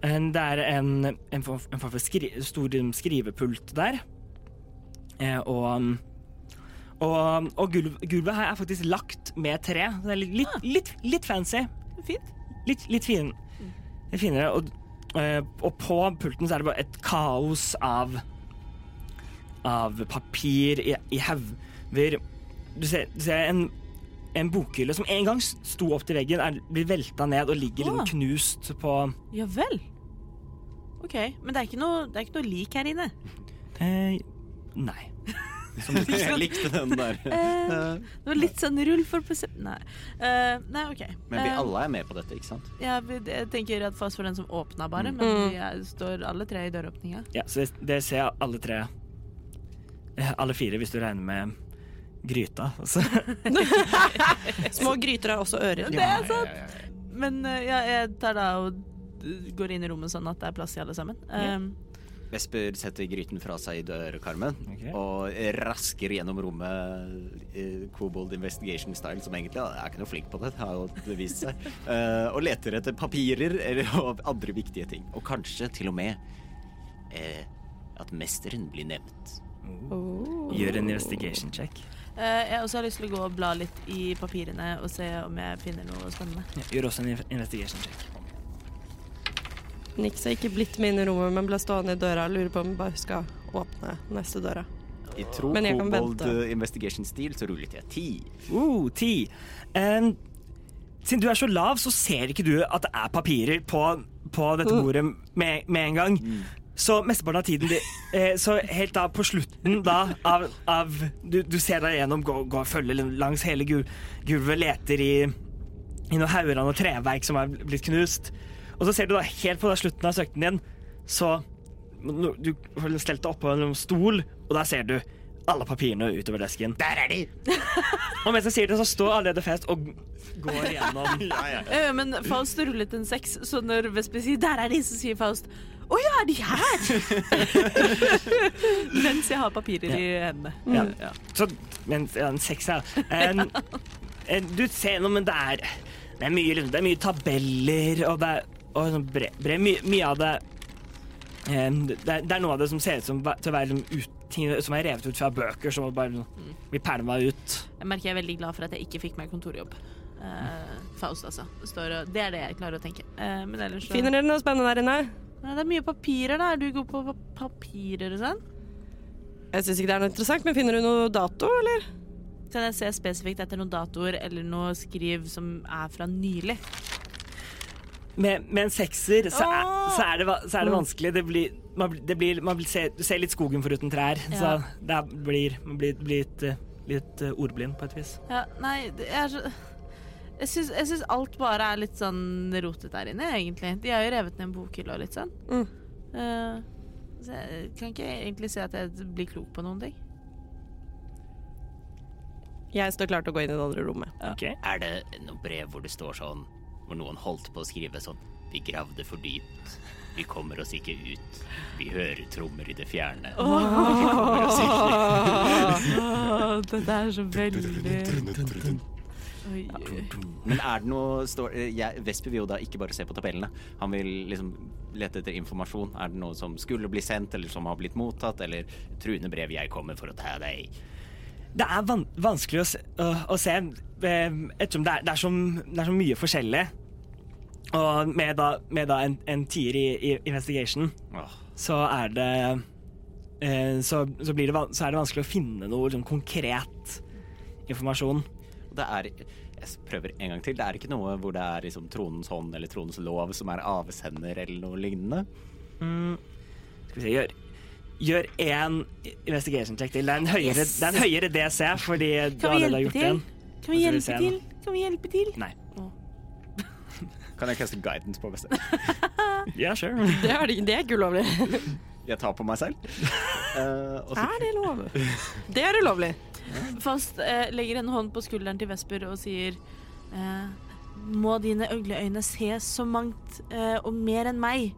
en, Det er en, en form en form for skri stor um, skrivepult der. Eh, Og um, og, og gulv, gulvet her er faktisk lagt med tre. Så det er litt, litt, litt, litt fancy.
Fint.
Litt, litt fin, litt finere. Og, eh, og på pulten så er det bare et kaos av Av papir i, i hauger. Du ser, du ser en, en bokhylle som en gang sto opp til veggen, er, blir velta ned og ligger
Ah.
liksom knust på
Ja vel. OK, men det er ikke noe, det er ikke noe lik her inne.
eh, Nei.
Jeg likte den der.
Eh, det var litt sånn rull for persep... Nei. Eh, nei, OK.
Men vi
Eh,
alle er med på dette, ikke sant?
ja, vi, jeg tenker at fast for den som åpna, bare. Men vi er, står alle tre i døråpninga.
Ja, så det- det ser jeg alle tre eh, Alle fire, hvis du regner med gryta. Så.
Små gryter har også ører.
Det er sant! Men eh, ja, jeg tar da og eh, går inn i rommet sånn at det er plass til alle sammen. Eh,
Vesper setter gryten fra seg i dørkarmen
Ok.
og rasker gjennom rommet eh, Kobold Investigation Style, som egentlig ja, er ikke noe flink på det, det har jo vist seg, eh, og leter etter papirer eller, og andre viktige ting. Og kanskje til og med eh, at mesteren blir nevnt.
Oh.
Gjør en investigation check.
eh, jeg også har lyst til å gå og bla litt i papirene og se om jeg finner noe spennende.
Ja, gjør også en inv- investigation check.
Nix har ikke blitt med inn i rommet, men ble stående i døra og lurer på om vi bare skal åpne neste døra.
I tro
Men jeg kan
Kobold
vente.
eh, Investigation Style så rullet jeg ti.
Uh, ti. Uh, Em, Siden du er så lav, så ser ikke du at det er papirer på, på dette bordet med, med en gang.
Mm.
Så mesteparten av tiden de- eh, Så helt da på slutten da av, av du, du ser deg gjennom, går, går følger langs hele gu- gulvet, leter i, i noen hauger av noe treverk som er blitt knust. Og så ser du da helt på da slutten av søkten din, så no- Du har stelt deg oppå en stol, og der ser du alle papirene utover desken.
Der er de!
Og mens jeg sier det, så står allerede Fest og går gjennom
Ja, ja, men Faust rullet en seks, så når Vesper sier 'der er de', så sier Faust 'å ja, er de her?' Mens jeg har papirer i hendene.
Ja. Så, men, ja, en seks, ja. En, en, du ser noe, men det er, det er, mye, liksom, det er mye tabeller, og det er og sånn bre, bre, mye, mye av det em, det, er, det er noe av det som ser ut som va- til å være liksom, ut, ting som er revet ut fra bøker, som bare liksom, blir pælma ut.
Jeg merker jeg er veldig glad for at jeg ikke fikk meg kontorjobb. Eh, Faust, altså. Står og, det er det jeg klarer å tenke. Eh, men ellers så
Finner dere noe spennende der inne?
Nei, Det er mye papirer, da. Er du god på pa- papirer og sånn?
Jeg syns ikke det er noe interessant, men finner du noe dato, eller?
Kan jeg se spesifikt etter noen datoer eller noe skriv som er fra nylig?
Med, med en sekser så er,
Åh! Mm.
så er, det, va- så er det vanskelig. Det blir, man, blir- det blir, man blir se, du ser litt skogen foruten trær. Så
Ja.
det er- blir, man blir, blir litt, eh, litt eh, ordblind på et vis.
Ja, nei, det er så jeg syns, jeg syns alt bare er litt sånn rotet der inne, egentlig. De har jo revet ned en bokhylle og litt sånn.
Mm.
Eh, så jeg kan ikke egentlig si at jeg blir klok på noen ting.
Jeg står klar til å gå inn i det andre rommet.
Ok.
Er det noe brev hvor det står sånn Hvor noen holdt på å skrive sånn Vi gravde for dypt. Vi kommer oss ikke ut. Vi hører trommer i det fjerne.
dette er så veldig Oi, oi.
Men er det noe står, eh, jeg, Vesper vil jo da ikke bare se på tabellene. Han vil liksom lete etter informasjon. Er det noe som skulle bli sendt, eller som har blitt mottatt, eller truende brev jeg kommer for å ta deg?
Det er van vanskelig å se, å, å se eh, ettersom det er, det, er så, det er så mye forskjellig. Og med da, med da en, en tier i, i investigation,
Åh.
så er det eh, så, så, blir det van så er det vanskelig å finne noe liksom, konkret informasjon.
Og Det er Jeg prøver en gang til. Det er ikke noe hvor det er liksom tronens hånd eller tronens lov som er avsender, eller noe lignende.
Mm.
Skal vi se, gjør Gjør én investigation check til. Det er en høyere, det er en høyere DC, fordi du
Kan
allerede
vi
har
hjelpe
gjort
til?
en. Og så
Kan vi
vil vi
hjelpe
se
til? Kan vi hjelpe til?
Nei.
Kan jeg kaste guidance på Vesper?
Ja, sure.
Det er, det- det er ikke ulovlig.
Jeg tar på meg selv. Eh, og så
Er det lov? Det er ulovlig.
Fast eh, legger en hånd på skulderen til Vesper og sier eh, Må dine øgleøyne se så mangt, eh, og mer enn meg.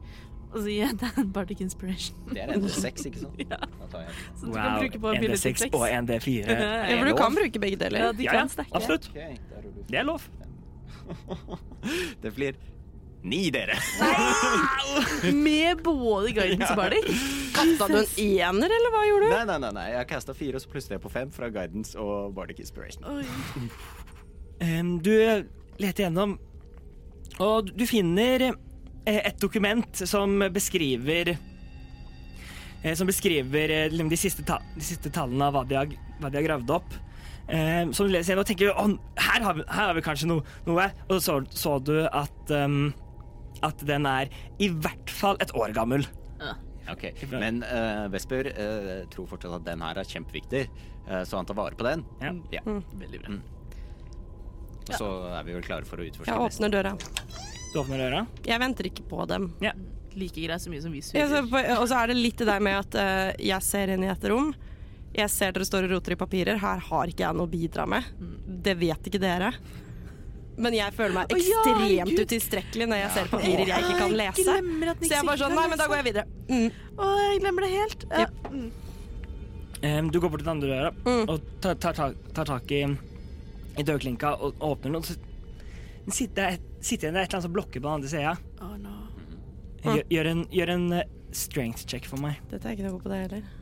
Og så gir jeg deg en Bardic Inspiration.
Det er en seks, ikke sant?
Ja.
Da tar jeg en.
Så du kan bruke på
en
ability
D6
checks.
og en D4.
Ja, for du kan bruke begge
Ja,
deler.
de
Ja, ja,
kan stacke.
absolutt.
Ok, da ruller vi.
Det er lov.
Det blir ni, dere.
Med både guidance og bardic.
Kasta du en ener, eller hva gjorde du?
Nei, nei, nei, nei. jeg casta fire, og så plusser jeg på fem fra Guidance og Bardic Inspiration.
Oi.
Em, Du eh, leter gjennom, og du finner eh, et dokument som beskriver eh, Som beskriver eh, liksom de siste, ta de siste tallene av hva de har, hva de har gravd opp. Em, Som du leser gjennom og tenker Å, her har vi, her har vi kanskje no noe. Og så så du at, em, at den er i hvert fall et år gammel.
Ok, Men eh, Vesper eh, tror fortsatt at den her er kjempeviktig, eh, så han tar vare på den.
Ja.
Veldig bra. Og så er vi vel klare for å utforske
Jeg åpner døra.
Du åpner døra.
Jeg venter ikke på dem.
Like greit så mye som vi
Ja, så,
surrer.
og så er det litt det der med at eh, jeg ser inn i et rom. Jeg ser dere står og roter i papirer. Her har ikke jeg noe å bidra med. Det vet ikke dere. Men jeg føler meg
Å, ja,
ekstremt
herregud.
utilstrekkelig når jeg ser papirer jeg ikke kan
Jeg
lese.
glemmer at den
Så jeg er
ikke
bare sånn
kan
Nei, men da
lese.
går jeg videre. Mm.
Å, jeg glemmer det helt. Ja. Mm.
Em, Du går bort til den andre døra
Mm.
og tar, tar, tak- tar tak i, i dørklinka og og åpner den. Og så sitter det et- sitter igjen det er et eller annet som blokker på den andre sida.
Å, no. Mm.
Gjør, gjør en, gjør en eh, strength check for meg.
Dette er ikke noe god på deg heller.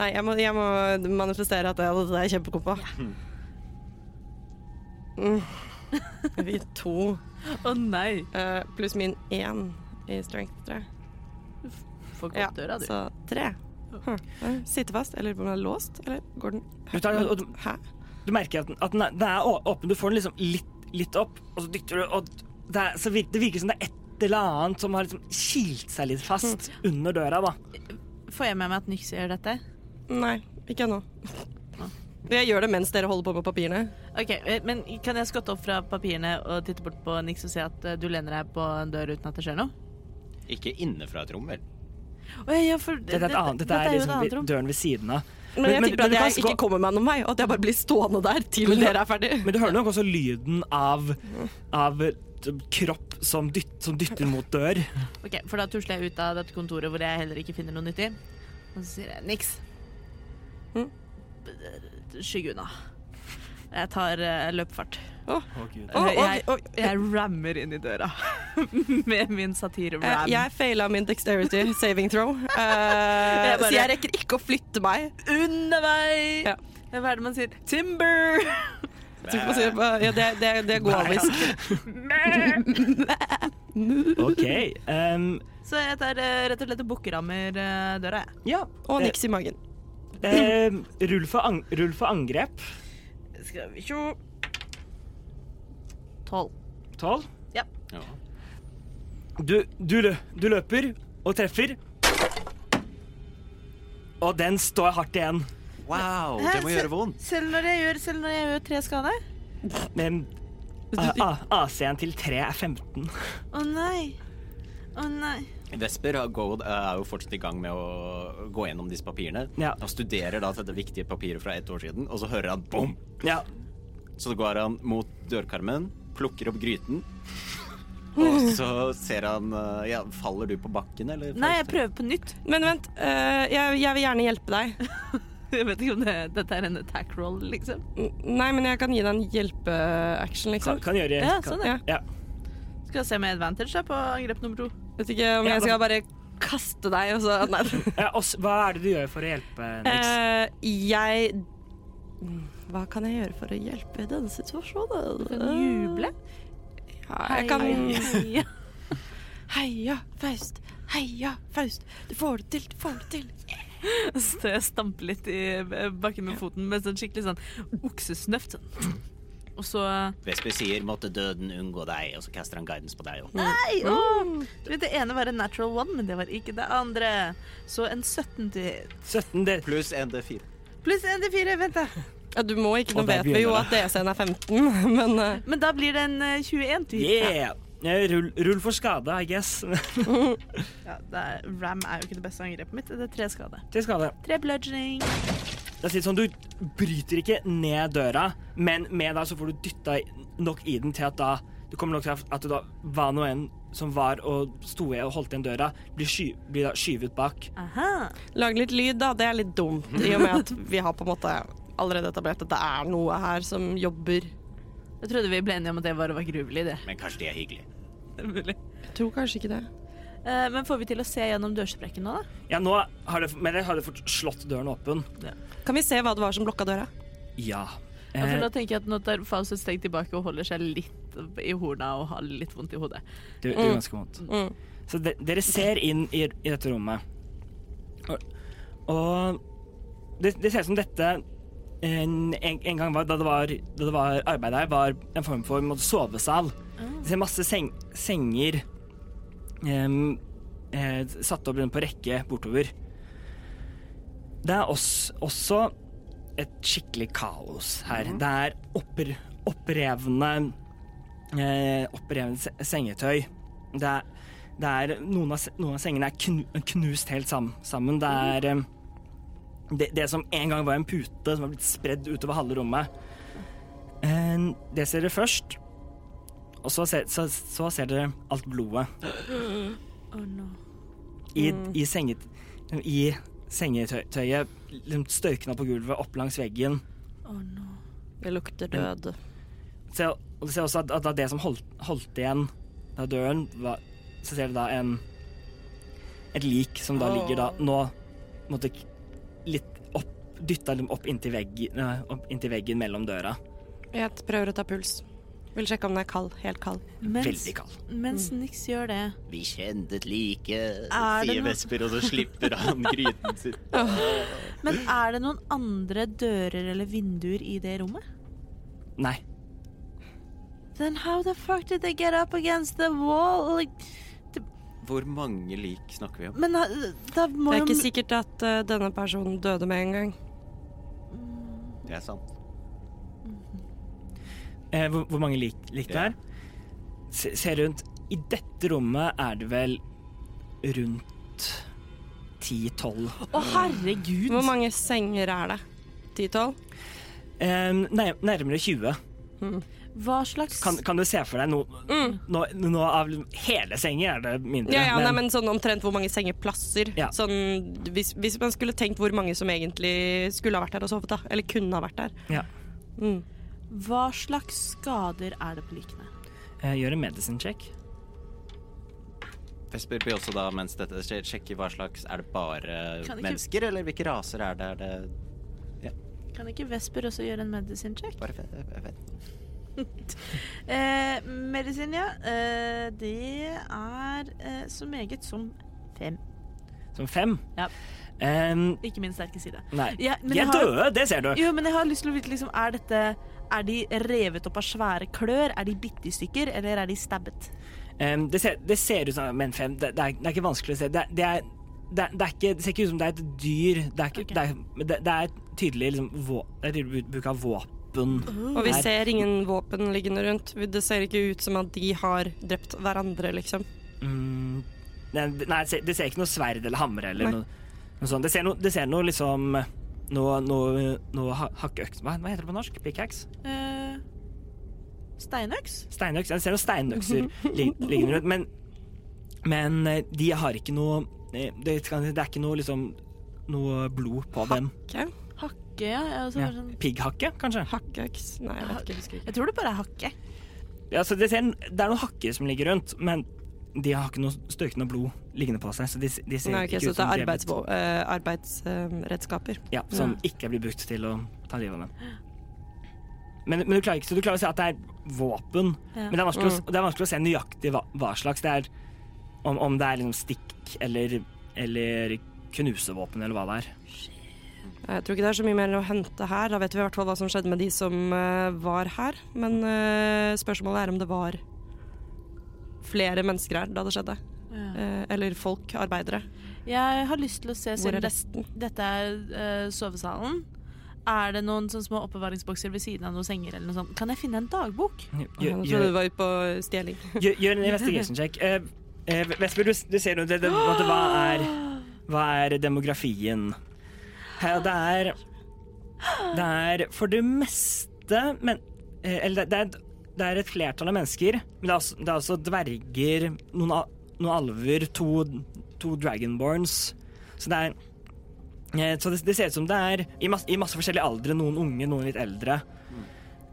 Nei, jeg må, jeg må manifestere at jeg, dette er kjempegod på. Mm. Vi to
Å, nei.
eh, pluss min én i strength, tror jeg.
Får ikke
Ja,
opp døra, du.
så tre. Hm. Sitter fast, eller om den er låst, eller går den
Du, tar, og du,
Hæ?
du merker at, den, at den, er, den er å- åpen. Du får den liksom litt, litt opp, og så dytter du, og det, er, så virker, det virker som det er et eller annet som har liksom kilt seg litt fast
Mm.
under døra, da.
Får jeg med meg at Nyx gjør dette?
Nei, ikke ennå. Jeg gjør det mens dere holder på med papirene.
Ok, eh, men Kan jeg skotte opp fra papirene og titte bort på Nix og se at eh, du lener deg på en dør uten at det skjer noe?
Ikke inne fra et rom, vel?
Å, ja, ja, for,
Dette er, et annet,
dette-
dette er,
dette jo et
liksom
annet rom.
døren ved siden av.
Men, jeg tipper at
du kan
jeg ikke
gå-
kommer meg noen vei, og at jeg bare blir stående der til
Men du-
dere er ferdig.
men du hører nok også lyden av,
Mm.
av kropp som, dytt, som dytter mot dør.
Ok, For da tusler jeg ut av dette kontoret hvor jeg heller ikke finner noe nyttig. Og så sier jeg niks. Hm?
Mm.
Skygg unna. Jeg tar eh, løpefart.
Å, ok,
jeg,
ok.
jeg rammer inn i døra med min
Eh,
satire-ram.
Jeg faila min dexterity saving throw, eh, så
bare-
jeg rekker ikke å flytte meg.
Under meg!
Ja.
Hva er det man sier? Timber!
Så vi får se på- Ja, det, det, det går
altså.
visst.
OK. ehm,
Så jeg tar eh, rett og slett og bukkerammer eh, døra, jeg.
ja.
Og niks i magen.
ehm, rull, for ang rull for angrep.
Skal vi sjå Tolv.
Tolv.
Ja.
Du, du, lø- du løper og treffer. Og den står hardt igjen.
Wow,
Hæ,
det må
se-
gjøre vondt.
Selv når jeg gjør, selv når jeg gjør tre skade?
Men A- A- AC-en til 3 er 15.
Å nei. Å nei.
Vesper og Gold eh, er jo fortsatt i gang med å gå gjennom disse papirene.
Ja.
Han studerer da dette viktige papiret fra ett år siden, og så hører han bom!
Ja.
Så går han mot dørkarmen, plukker opp gryten, og så ser han eh, Ja, faller du på bakken, eller?
Nei, jeg prøver på nytt.
Men vent, eh, jeg, jeg vil gjerne hjelpe deg.
Jeg vet ikke om det, dette er en attack roll, liksom.
N- Nei, men jeg kan gi deg en hjelpeaction,
Kan,
liksom.
kan gjøre
Ja,
kan,
sånn,
ja.
ja.
Skal jeg se med advantage da, på angrep nummer to.
Vet ikke om
Ja,
jeg
da-
skal bare kaste deg, og så Nei.
Ja, og s- hva er det du gjør for å hjelpe Nix?
Eh, jeg Hva kan jeg gjøre for å hjelpe i denne situasjonen?
Kan du juble?
Ja, jeg kan
Heia.
Heia, Faust! Heia, Faust! Du får det til, du får det til!
Så jeg stamper litt i eh, bakken med foten med sånn skikkelig sånn oksesnøft. Sånn. Og så
Vesper sier 'måtte døden unngå deg', og så caster han guidance på deg òg.
Nei!
Mm.
åh! Du vet, det ene var en natural one, men det var ikke det andre. Så en 17 til
17, det
Pluss en D4.
Pluss en til fire, vent da.
Ja, du må ikke, nå
Og der
vet vi jo
begynner
at DC-en er 15, men eh,
Men da blir det en eh, 21 til
Yeah! Eh, Rull, rull for skade, I guess.
Ja, det er, Ram er jo ikke det beste angrepet mitt. Det er tre skade.
Til skade.
Tre bludgeoning.
Det er litt sånn, Du bryter ikke ned døra, men med deg så får du dytta nok i den til at da du kommer nok til at du da, hva nå enn som var og sto i og holdt igjen døra, blir, sky, blir da skyvet bak.
Aha.
lag litt lyd, da. Det er litt dumt, i og med at vi har på en måte allerede etablert at det er noe her som jobber.
Jeg trodde vi ble enige om at det bare var gruvelig, det.
Men kanskje de er hyggelige.
Jeg tror kanskje ikke det.
Eh, men får vi til å se gjennom dørsprekken nå, da?
Ja, nå har det, men jeg har det fort slått døren åpen.
Kan vi se hva det var som blokka døra?
Ja.
Ja, for
Eh,
nå tenker jeg at nå tar Faust et steg tilbake og holder seg litt i horna og har litt vondt i hodet.
Det, det gjør ganske vondt.
Mm.
Så de, dere ser inn i, i dette rommet. Og, og det, det ser ut som dette eh, en, en, en gang var, da, det var, da det var arbeid her, var en form for en måte, sovesal.
Ah.
Det ser masse seng, senger em, eh, satt opp rundt på rekke bortover. Det er også, også et skikkelig kaos her. Det er opper, opprevne eh, opprevne se- sengetøy. Det er, det er noen, av, se- noen av sengene er knu, knust helt sam, sammen. Det er eh, det, det som en gang var en pute som har blitt spredd utover halve rommet. Eh, det ser dere først. Og så ser, så, så ser dere alt blodet
Oh, no.
i, i, senget, i sengetøyet. liksom Støykna på gulvet, opp langs veggen.
Oh, no.
Det lukter død.
Se, og du ser også at, at da det som holdt, holdt igjen da døren, var, så ser du da en et lik som da ligger da nå på en måte, litt opp Dytta dem opp inntil, veggen, eh, opp inntil veggen mellom døra.
Jeg prøver å ta puls. Vil sjekke om den er kald. Helt kald.
Mens,
Veldig Mm. kald.
mens Nix gjør det
Vi kjente et like,
Er det
sier
noe-
Vesper, og så slipper han gryten sin.
Men er det noen andre dører eller vinduer i det rommet?
Nei.
Then how the fuck did they get up against the wall? Like,
Hvor mange lik snakker vi om?
men da, da må
Det er
jo
ikke sikkert at eh, denne personen døde med en gang.
Det er sant.
Eh, hvor, hvor mange lik, lik det
Ja.
er? Se, se rundt. I dette rommet er det vel rundt 10-12.
Å, herregud!
Hvor mange senger er det? 10-12?
Eh, nei- nærmere 20.
Hva slags
Kan, kan du se for deg noe
Mm.
nå, nå av hele sengen er det mindre.
Ja, ja, nei, men sånn omtrent hvor mange sengeplasser.
Ja.
Sånn, hvis, hvis man skulle tenkt hvor mange som egentlig skulle ha vært der og sovet, da. Eller kunne ha vært der.
Ja.
Mm.
Hva slags skader er det på likene?
Eh, Gjør en medicine check.
Vesper blir også da, mens dette skjer, sjekker hva slags Er det bare
Kan ikke-
mennesker, eller hvilke raser er det? Er det
Kan ikke Vesper også gjøre en medicine check?
bare fe- jeg vet.
Eh, medisin, ja. Eh, det er eh, så meget som fem.
Som fem.
Ja.
Eh,
Ikke min sterke side.
nei.
Ja, men
De
jeg
er
har-
døde, det ser du.
Jo, men jeg har lyst til å vite, liksom, er dette Er de revet opp av svære klør? Er de bitt i stykker? Eller er de stabbet?
Ehm, det, ser, det ser ut som Men fem, det, det, er, det er ikke vanskelig å se. Det, det, er, det, det, er ikke, det ser ikke ut som det er et dyr. Det er, ikke,
Ok.
det er, men det, det er tydelig liksom, vå, det er tydelig bruk av våpen.
Og vi
Her.
ser ingen våpen liggende rundt. Det ser ikke ut som at de har drept hverandre, liksom.
Mm, nei, nei, det ser- det ser ikke noe sverd eller hammer eller
Nei.
noe, noe sånt. Det ser noe, det ser noe liksom noe, noe, noe ha- hakkeøks hva, hva heter det på norsk? Pickaxe?
Eh, steinøks?
Steinøks? Jeg ser noen steinøkser lig- liggende rundt, men, men eh, de har ikke noe eh, Det, kan- det er ikke noe liksom noe blod på dem.
Ok?
Hakke, ja. Jeg, også
Ja.
bare sånn,
Pigghakke, kanskje?
Hakkøks? Nei, jeg vet ikke.
jeg tror det bare er hakke.
Ja, så det, ser, det er noen hakker som ligger rundt, men de har ikke noe støkende blod liggende på seg. Så de, de ser
Nei, ok,
ikke ut
så det
som
er eh,
de blitt-
arbeidsredskaper.
Ja, som ikke blir brukt til å ta livet av dem. Men, men du, klarer ikke, så du klarer å se at det er våpen,
Ja.
men det er, vanskelig, å, det er vanskelig å se nøyaktig hva, hva slags det er. Om, om det er liksom stikk eller, eller knusevåpen eller hva det er.
Eh, Jeg tror ikke det er så mye mer å hente her. Da vet vi i hvert fall hva som skjedde med de som eh, var her. Men eh, spørsmålet er om det var flere mennesker her da det skjedde.
Ja.
Eh, eller folk, arbeidere.
Jeg har lyst til å se
Hvor
siden
er
det,
resten?
dette er eh, sovesalen. Er det noen sånne små oppbevaringsbokser ved siden av noen senger? eller noe sånt? Kan jeg finne en dagbok?
Gjør,
Jeg trodde
gjør,
du var ute på stjeling.
gjør, gjør en investigation check. Eh, eh, Vesper, du, du ser jo det, det, at hva er Hva er demografien? Her, det er Det er for det meste men, eh, Eller det, det, er, det er et flertall av mennesker, men det er også, det er også dverger, noen, al- noen alver, to, to dragonborns. Så det er eh, Så det, det ser ut som det er i masse, i masse forskjellige aldre. Noen unge, noen litt eldre.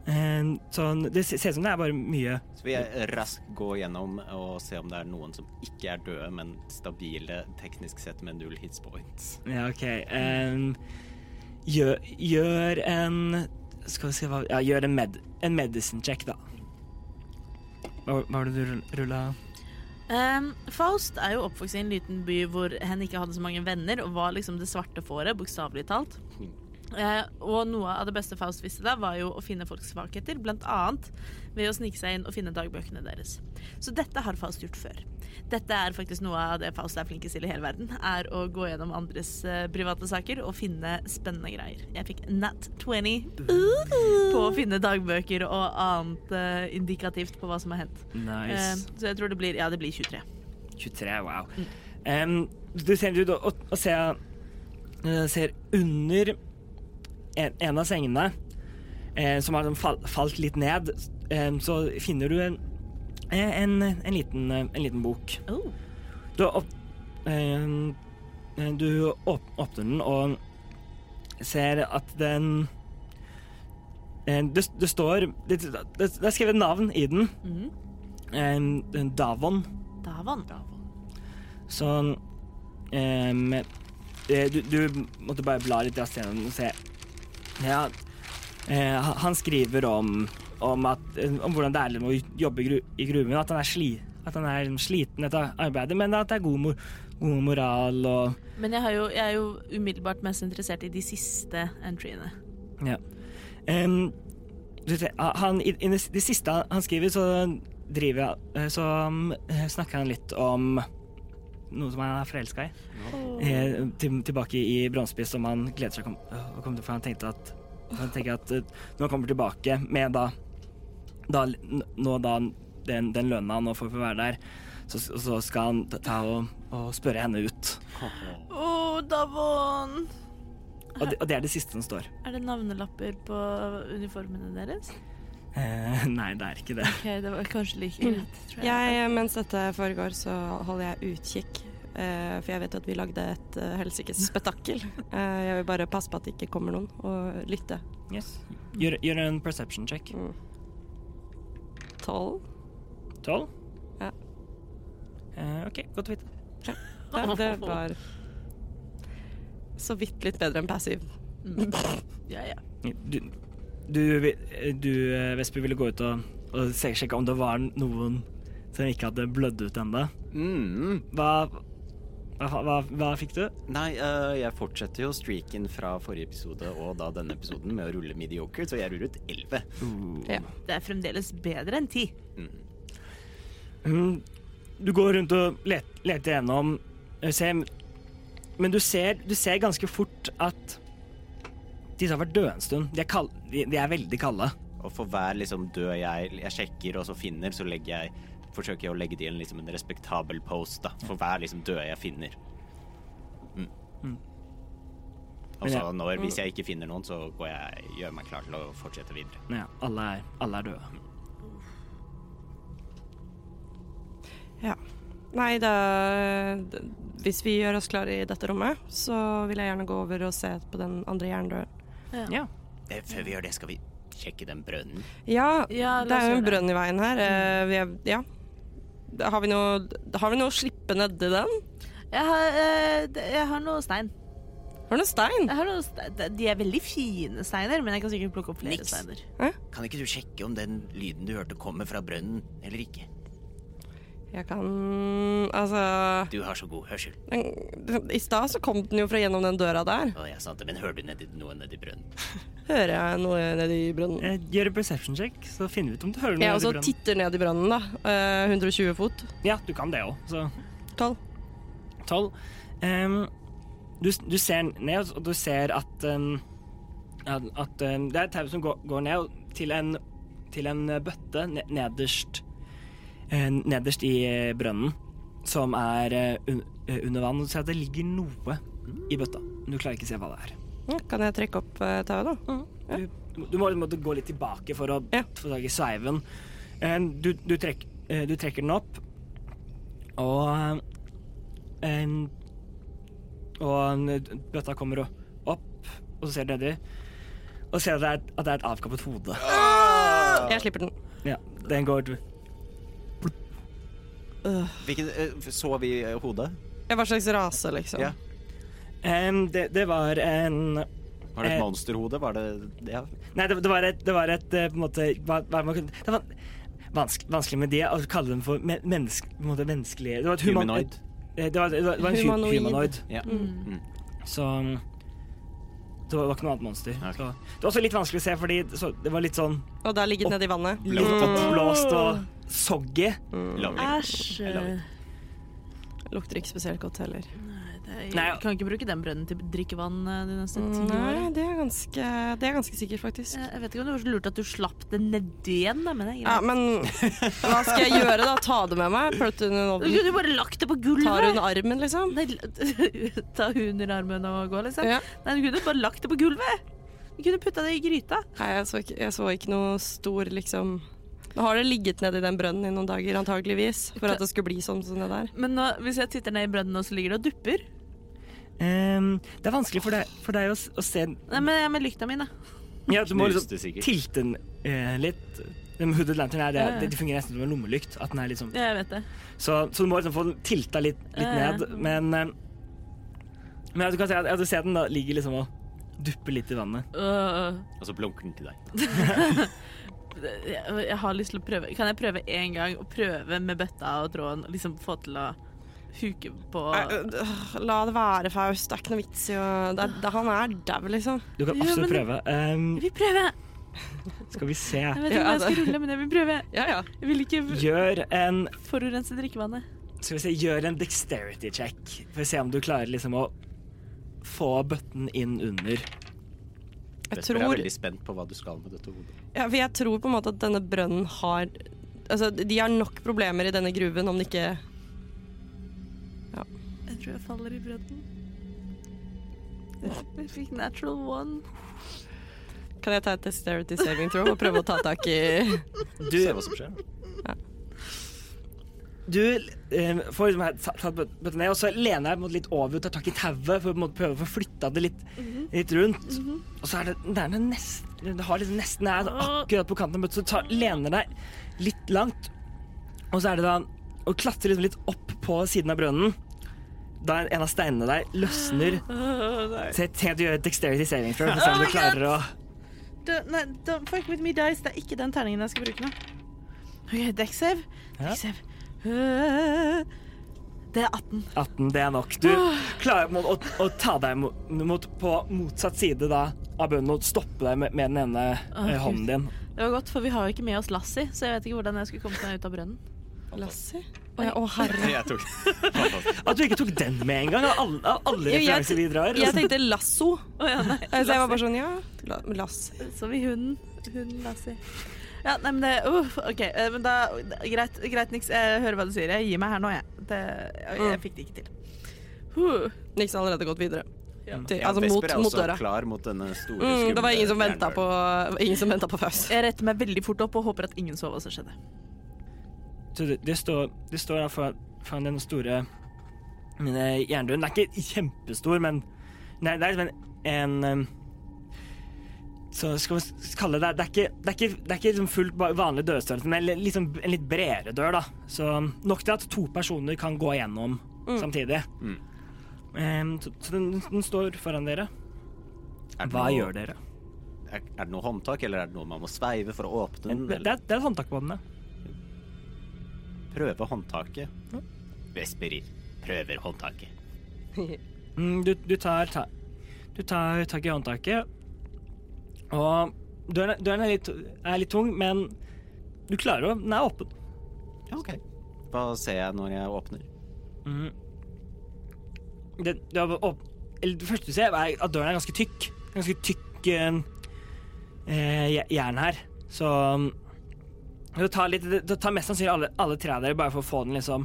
Eh, Sånn, det ser ut som det er bare mye
Så vil jeg raskt gå gjennom og se om det er noen som ikke er døde, men stabile teknisk sett med null hits points.
Ja, OK. Em, gjør, gjør en Skal vi se hva Ja, gjør en, med, en medicine check, da. Hva hva var det du rulla?
Ehm, Faust er jo oppvokst i en liten by hvor hen ikke hadde så mange venner, og var liksom det svarte fåret, bokstavelig talt. Eh, og noe av det beste Faust visste da, var jo å finne folks svakheter, blant annet ved å snike seg inn og finne dagbøkene deres. Så dette har Faust gjort før. Dette er faktisk noe av det Faust er flinkest til i hele verden, er å gå gjennom andres eh, private saker og finne spennende greier. Jeg fikk nat 20 på å finne dagbøker og annet eh, indikativt på hva som har hendt.
Nice.
Eh, Så jeg tror det blir Ja, det blir 23.
23, wow. Em, du ser ut og, og ser, eh, ser under en, en av sengene, eh, som har sånn fall, falt litt ned, em, så finner du en, eh, en, en, liten, eh, en liten bok.
Oh.
Du, har opp, eh, du åp, åpner den og ser at den eh, det, det står det, det, det er skrevet navn i den.
Mhm.
Eh, Davon.
Davon.
Sånn ehm, eh, du, du måtte bare bla litt raskt gjennom og se. Ja, eh, han- han skriver om, om, at, om hvordan det er liksom å jobbe i gru, i gruven. At han er, sli, at han er sliten etter arbeidet, men at det er god, mor, god moral og
Men jeg, har jo, jeg er jo umiddelbart mest interessert i de siste entryene.
Em, du ser, han, i, I det siste han skriver, så driver jeg Så eh, snakker han litt om noe som han er forelska i. Eh, til, tilbake i Bronseby, som han gleder seg kom, å komme til, for han tenkte at han tenker at eh, når han kommer tilbake med da, da n- Nå da den, den lønna han nå får for å være der, så, så skal han ta- ta og, og spørre henne ut.
Å, Davon!
Og det, og det er det siste som står.
Er det navnelapper på uniformene deres?
Eh, nei, det er ikke det.
Ok, det var kanskje like greit, tror jeg.
Jeg, mens dette foregår, så holder jeg utkikk. eh, For jeg vet at vi lagde et eh, helsikes spetakkel. Eh, Jeg vil bare passe på at det ikke kommer noen, og lytte.
Yes. Gjør, gjør en perception check.
Tolv.
Tolv?
Ja.
Eh, OK, godt å vite.
Det, det var så vidt litt bedre enn passiv.
Ja, ja.
Du, du, vi- du eh, Vesper, ville gå ut og, og se- sjekke om det var noen som ikke hadde blødd ut ennå.
Mm.
Hva, hva, hva, hva fikk du?
Nei, eh, jeg fortsetter jo streaken fra forrige episode og da denne episoden med å rulle mediocre, så jeg ruller ut 11.
Mm.
Det er fremdeles bedre enn ti.
Mm, Du går rundt og let, leter gjennom. eh, ser- men du ser, du ser ganske fort at disse har vært døde en stund. De er, kald, de, de er veldig kalde.
Og for hver liksom død jeg, jeg sjekker og så finner, så legger jeg Forsøker jeg å legge det i en, liksom, en respektabel post, da. For hver liksom død jeg finner. Mm. Og
Men
så
jeg-
når, hvis jeg ikke finner noen, så går jeg, gjør meg klar til å fortsette videre.
Ja, alle, er, alle er døde.
Ja. Nei, da Hvis vi gjør oss klare i dette rommet, så vil jeg gjerne gå over og se på den andre jerndøren.
Ja.
Eh, Før vi gjør det, skal vi sjekke den brønnen.
Ja,
Ja,
det
la oss
er
gjøre
jo en
det. Mm.
brønn i veien her. Eh, Vi er, ja. Da Har vi, noe, har vi noe å slippe nedi den?
Jeg har, eh, det- jeg har noe stein.
Har du noe stein?
Jeg har noe ste de- de er veldig fine steiner, men jeg kan sikkert plukke opp flere
Niks.
steiner.
Kan ikke du sjekke om den lyden du hørte, kommer fra brønnen eller ikke?
Jeg kan Altså
Du har så god hørsel.
den, I stad så kom den jo fra gjennom den døra der.
Å, jeg sa det, men hører du nedi, noe nedi brønnen?
Hører jeg noe nedi brønnen?
Eh, Gjør en perception check, så finner vi ut om du hører noe.
Jeg
i
også
brønnen.
titter ned i brønnen, da. Eh, 120 fot.
Ja, du kan det òg, så
12.
tolv. Ehm, du, du ser ned, og du ser at, ehm, at, at ehm, det er et tau som går, går ned og til en, til en bøtte ne- nederst, eh, nederst i eh, brønnen, som er eh, un, eh, under vann. Og du ser at det ligger noe i bøtta, men du klarer ikke å se hva det er.
Ja, Kan jeg trekke opp eh, tauet, da?
Mm.
Du, du må på en måte gå litt tilbake for å
Ja.
få tak i sveiven. Eh, Du, du, trekk, eh, du trekker den opp, og eh, Og eh, bøtta kommer o- opp, og så ser du nedi, og ser at det er, et- at det er et avkappet hode.
Jeg slipper den.
Ja, den går du-
Hvilken, eh, så vi eh, hodet?
Ja, Hva slags rase, liksom?
Ja.
Em, det, det var en
Var det et
Eh.
monsterhode? Var det ja.
Nei, det, det var et, det var et eh, på en måte hva, hva man kunne, Det var vanskelig, vanskelig med det å kalle dem for men, menneske, på en måte menneskelige Det var et human,
Humanoid.
Eh, Det var, det var, det var en humanoid.
Humanoid.
humanoid
Ja.
Mm.
Så um, det var ikke noe annet monster.
Ok.
Så, det var også litt vanskelig å se, fordi det- så, det var litt sånn
Og der ligger den nedi vannet.
litt oppblåst og soggy.
Eh,
Lovely.
Æsj.
Jeg lover.
Lukter ikke spesielt godt heller.
Nei.
Jeg kan ikke bruke den brønnen til drikkevann eh, de neste ti
Nei,
årene.
det er ganske, det er ganske sikkert, faktisk.
Jeg jeg vet ikke om det var så lurt at du slapp det nedi igjen, da, men det er
Ja,
greit.
men hva skal jeg gjøre, da? Ta det med meg? Putte den i
Du
ovnen?
kunne jo bare lagt det på
Tar hun
gulvet!
armen, liksom?
Nei, l- Ta hun under armen og gå, liksom.
Ja.
Nei, du kunne bare lagt det på gulvet! Du kunne putta det i gryta.
Nei, jeg så, ikke, jeg så ikke noe stor, liksom Nå har det ligget nedi den brønnen i noen dager, antageligvis, for at det skulle bli sånn som det der.
Men nå, hvis jeg titter ned i brønnen, og så ligger det og dupper
Em, det er vanskelig for deg, for deg å, s- å se
Nei, men jeg er med lykta mi, da.
ja, Du må
Knuste
liksom
sikkert.
tilte den eh, litt. Den Hooded Lantern er det,
Ja, ja.
det, det fungerer nesten som en lommelykt. At den er litt sånn-
Jeg vet det.
så, så du må liksom få den tilta litt, litt
Ja, ja.
ned. Men, em, men du kan se at, at du ser at den da, ligger liksom og dupper litt i vannet.
Øh,
Og så blunker den altså, til deg.
jeg, jeg har lyst til å prøve. Kan jeg prøve én gang? Og prøve med bøtta og tråden? og Liksom få til å huke på
Nei, øh, La det være, Faust. Det er ikke noe vits i å det er, det, Han er dau, liksom.
Du kan
Ja,
absolutt
men-
prøve. Em,
Vi prøver!
Skal vi se.
Jeg vet ikke
Ja,
om jeg skal
altså.
rulle, men jeg vil prøve.
Ja, ja.
Jeg vil ikke
Gjør en,
forurense drikkevannet.
skal vi se, gjør en dexterity check for å se om du klarer liksom å få bøtten inn under.
Jeg
Vesper er
tror
veldig spent på hva du skal med dette hodet.
Ja, for jeg tror på en måte at denne brønnen har Altså, de har nok problemer i denne gruven om det ikke
Jeg tror jeg faller i brønnen. Jeg fikk natural one.
Kan jeg ta et dexterity saving throw og prøve å ta tak i
Du,
Se hva som skjer.
du eh, får liksom her ta- tatt bøt- bøtten ned, og så lener jeg på en måte litt over og tar tak i tauet for å på en måte prøve å få flytta det litt, litt rundt. Og så er det, det er noe nesten Det har liksom nesten er akkurat på kanten av bøtta, så du tar, lener deg litt langt. Og så er det da å klatre liksom litt opp på siden av brønnen. Da en av steinene der løsner. Se, se du gjør et dexterity saving throw, for å se om du
Oh my God!
klarer å
Don't, nei, don't fuck with me dice. Det er ikke den terningen jeg skal bruke nå. OK, deck save.
Ja.
Deck save. Øh, Det er 18.
18, det er nok. Du klarer på en måte å, å ta deg mot, mot, på motsatt side da, av bønnen og stoppe deg med, med den ene
Å,
eh,
Gud.
hånden din.
Det var godt, for vi har jo ikke med oss Lassie, så jeg vet ikke hvordan jeg skulle kommet meg ut av brønnen.
Lassie? Å ja, å herre.
Jeg tok
At du ikke tok den med en gang, av alle, av alle
Jeg- jeg-
referanser vi drar.
Jeg tenkte lasso.
Å ja, nei.
Så jeg var bare sånn ja, la- lass.
Som i hunden. Hunden Lassie. Ja, nei, men det uff, OK. eh, Men da Greit, greit Nix. Jeg hører hva du sier. Jeg gir meg her nå, jeg. Det, jeg, jeg fikk det ikke til. Huh.
Niks har allerede gått videre.
Ja.
Til,
Ja,
altså
Vesper
mot,
er
mot
også
døra.
klar mot denne store
Mm, det var ingen som
skumle
venta på, ingen som ventet på Faust.
Jeg retter meg veldig fort opp og håper at ingen så hva som skjedde.
Så det, det, står, det står da foran, foran den store mine jerndøren. Den er ikke kjempestor, men Nei, det er liksom en, en um, Så skal vi kalle det Det er ikke, det er ikke, det er ikke liksom fullt ba- vanlig dørstørrelse, men li- liksom en litt bredere dør, da. Så um, nok til at to personer kan gå igjennom samtidig.
Mm.
Um, så så den, den står foran dere.
Er det
Hva
noe-
gjør dere?
Er, er det noe håndtak, eller er det noe man må sveive for å åpne den?
Det, det er, det er et håndtak på den, ja.
eller Prøve håndtaket? Vesper prøver håndtaket.
Mm, du, du tar ta, Du tar tak i håndtaket, og døren, er- døren er, litt, er litt tung, men du klarer å Den er åpen.
Ja, ok. Hva ser jeg når jeg åpner?
Mhm. Det, det, er åp- eller det første du ser, er at døren er ganske tykk. Ganske tykk eh, eh, je- jern her. Så mm, det tar, litt, det, det tar mest sannsynlig alle, alle tre av dere, bare for å få den liksom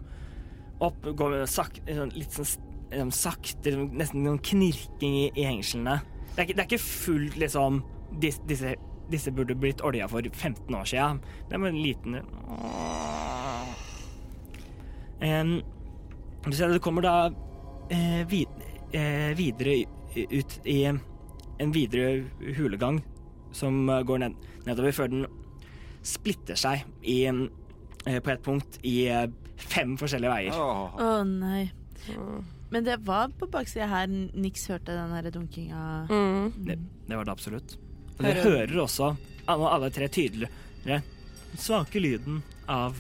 opp. Gå med sak, sånn litt sånn s- liksom, sakte, liksom, nesten noen knirking i, i hengslene. Det er, ikke- det er ikke fullt liksom dis, disse, disse burde blitt olja for 15 år siden. Det er bare en liten Em, du ser at det kommer da eh, vid, eh, videre ut i en videre hulegang som eh, går ned, nedover før den splitter seg i, en- eh, på et punkt i eh, fem forskjellige veier.
Åh.
Å nei. Men det var på baksida her Nix hørte den her dunkinga.
Mm.
Det, det var det absolutt. Og dere
Hører-
hører også alle, alle tre tydeligere den svake lyden av,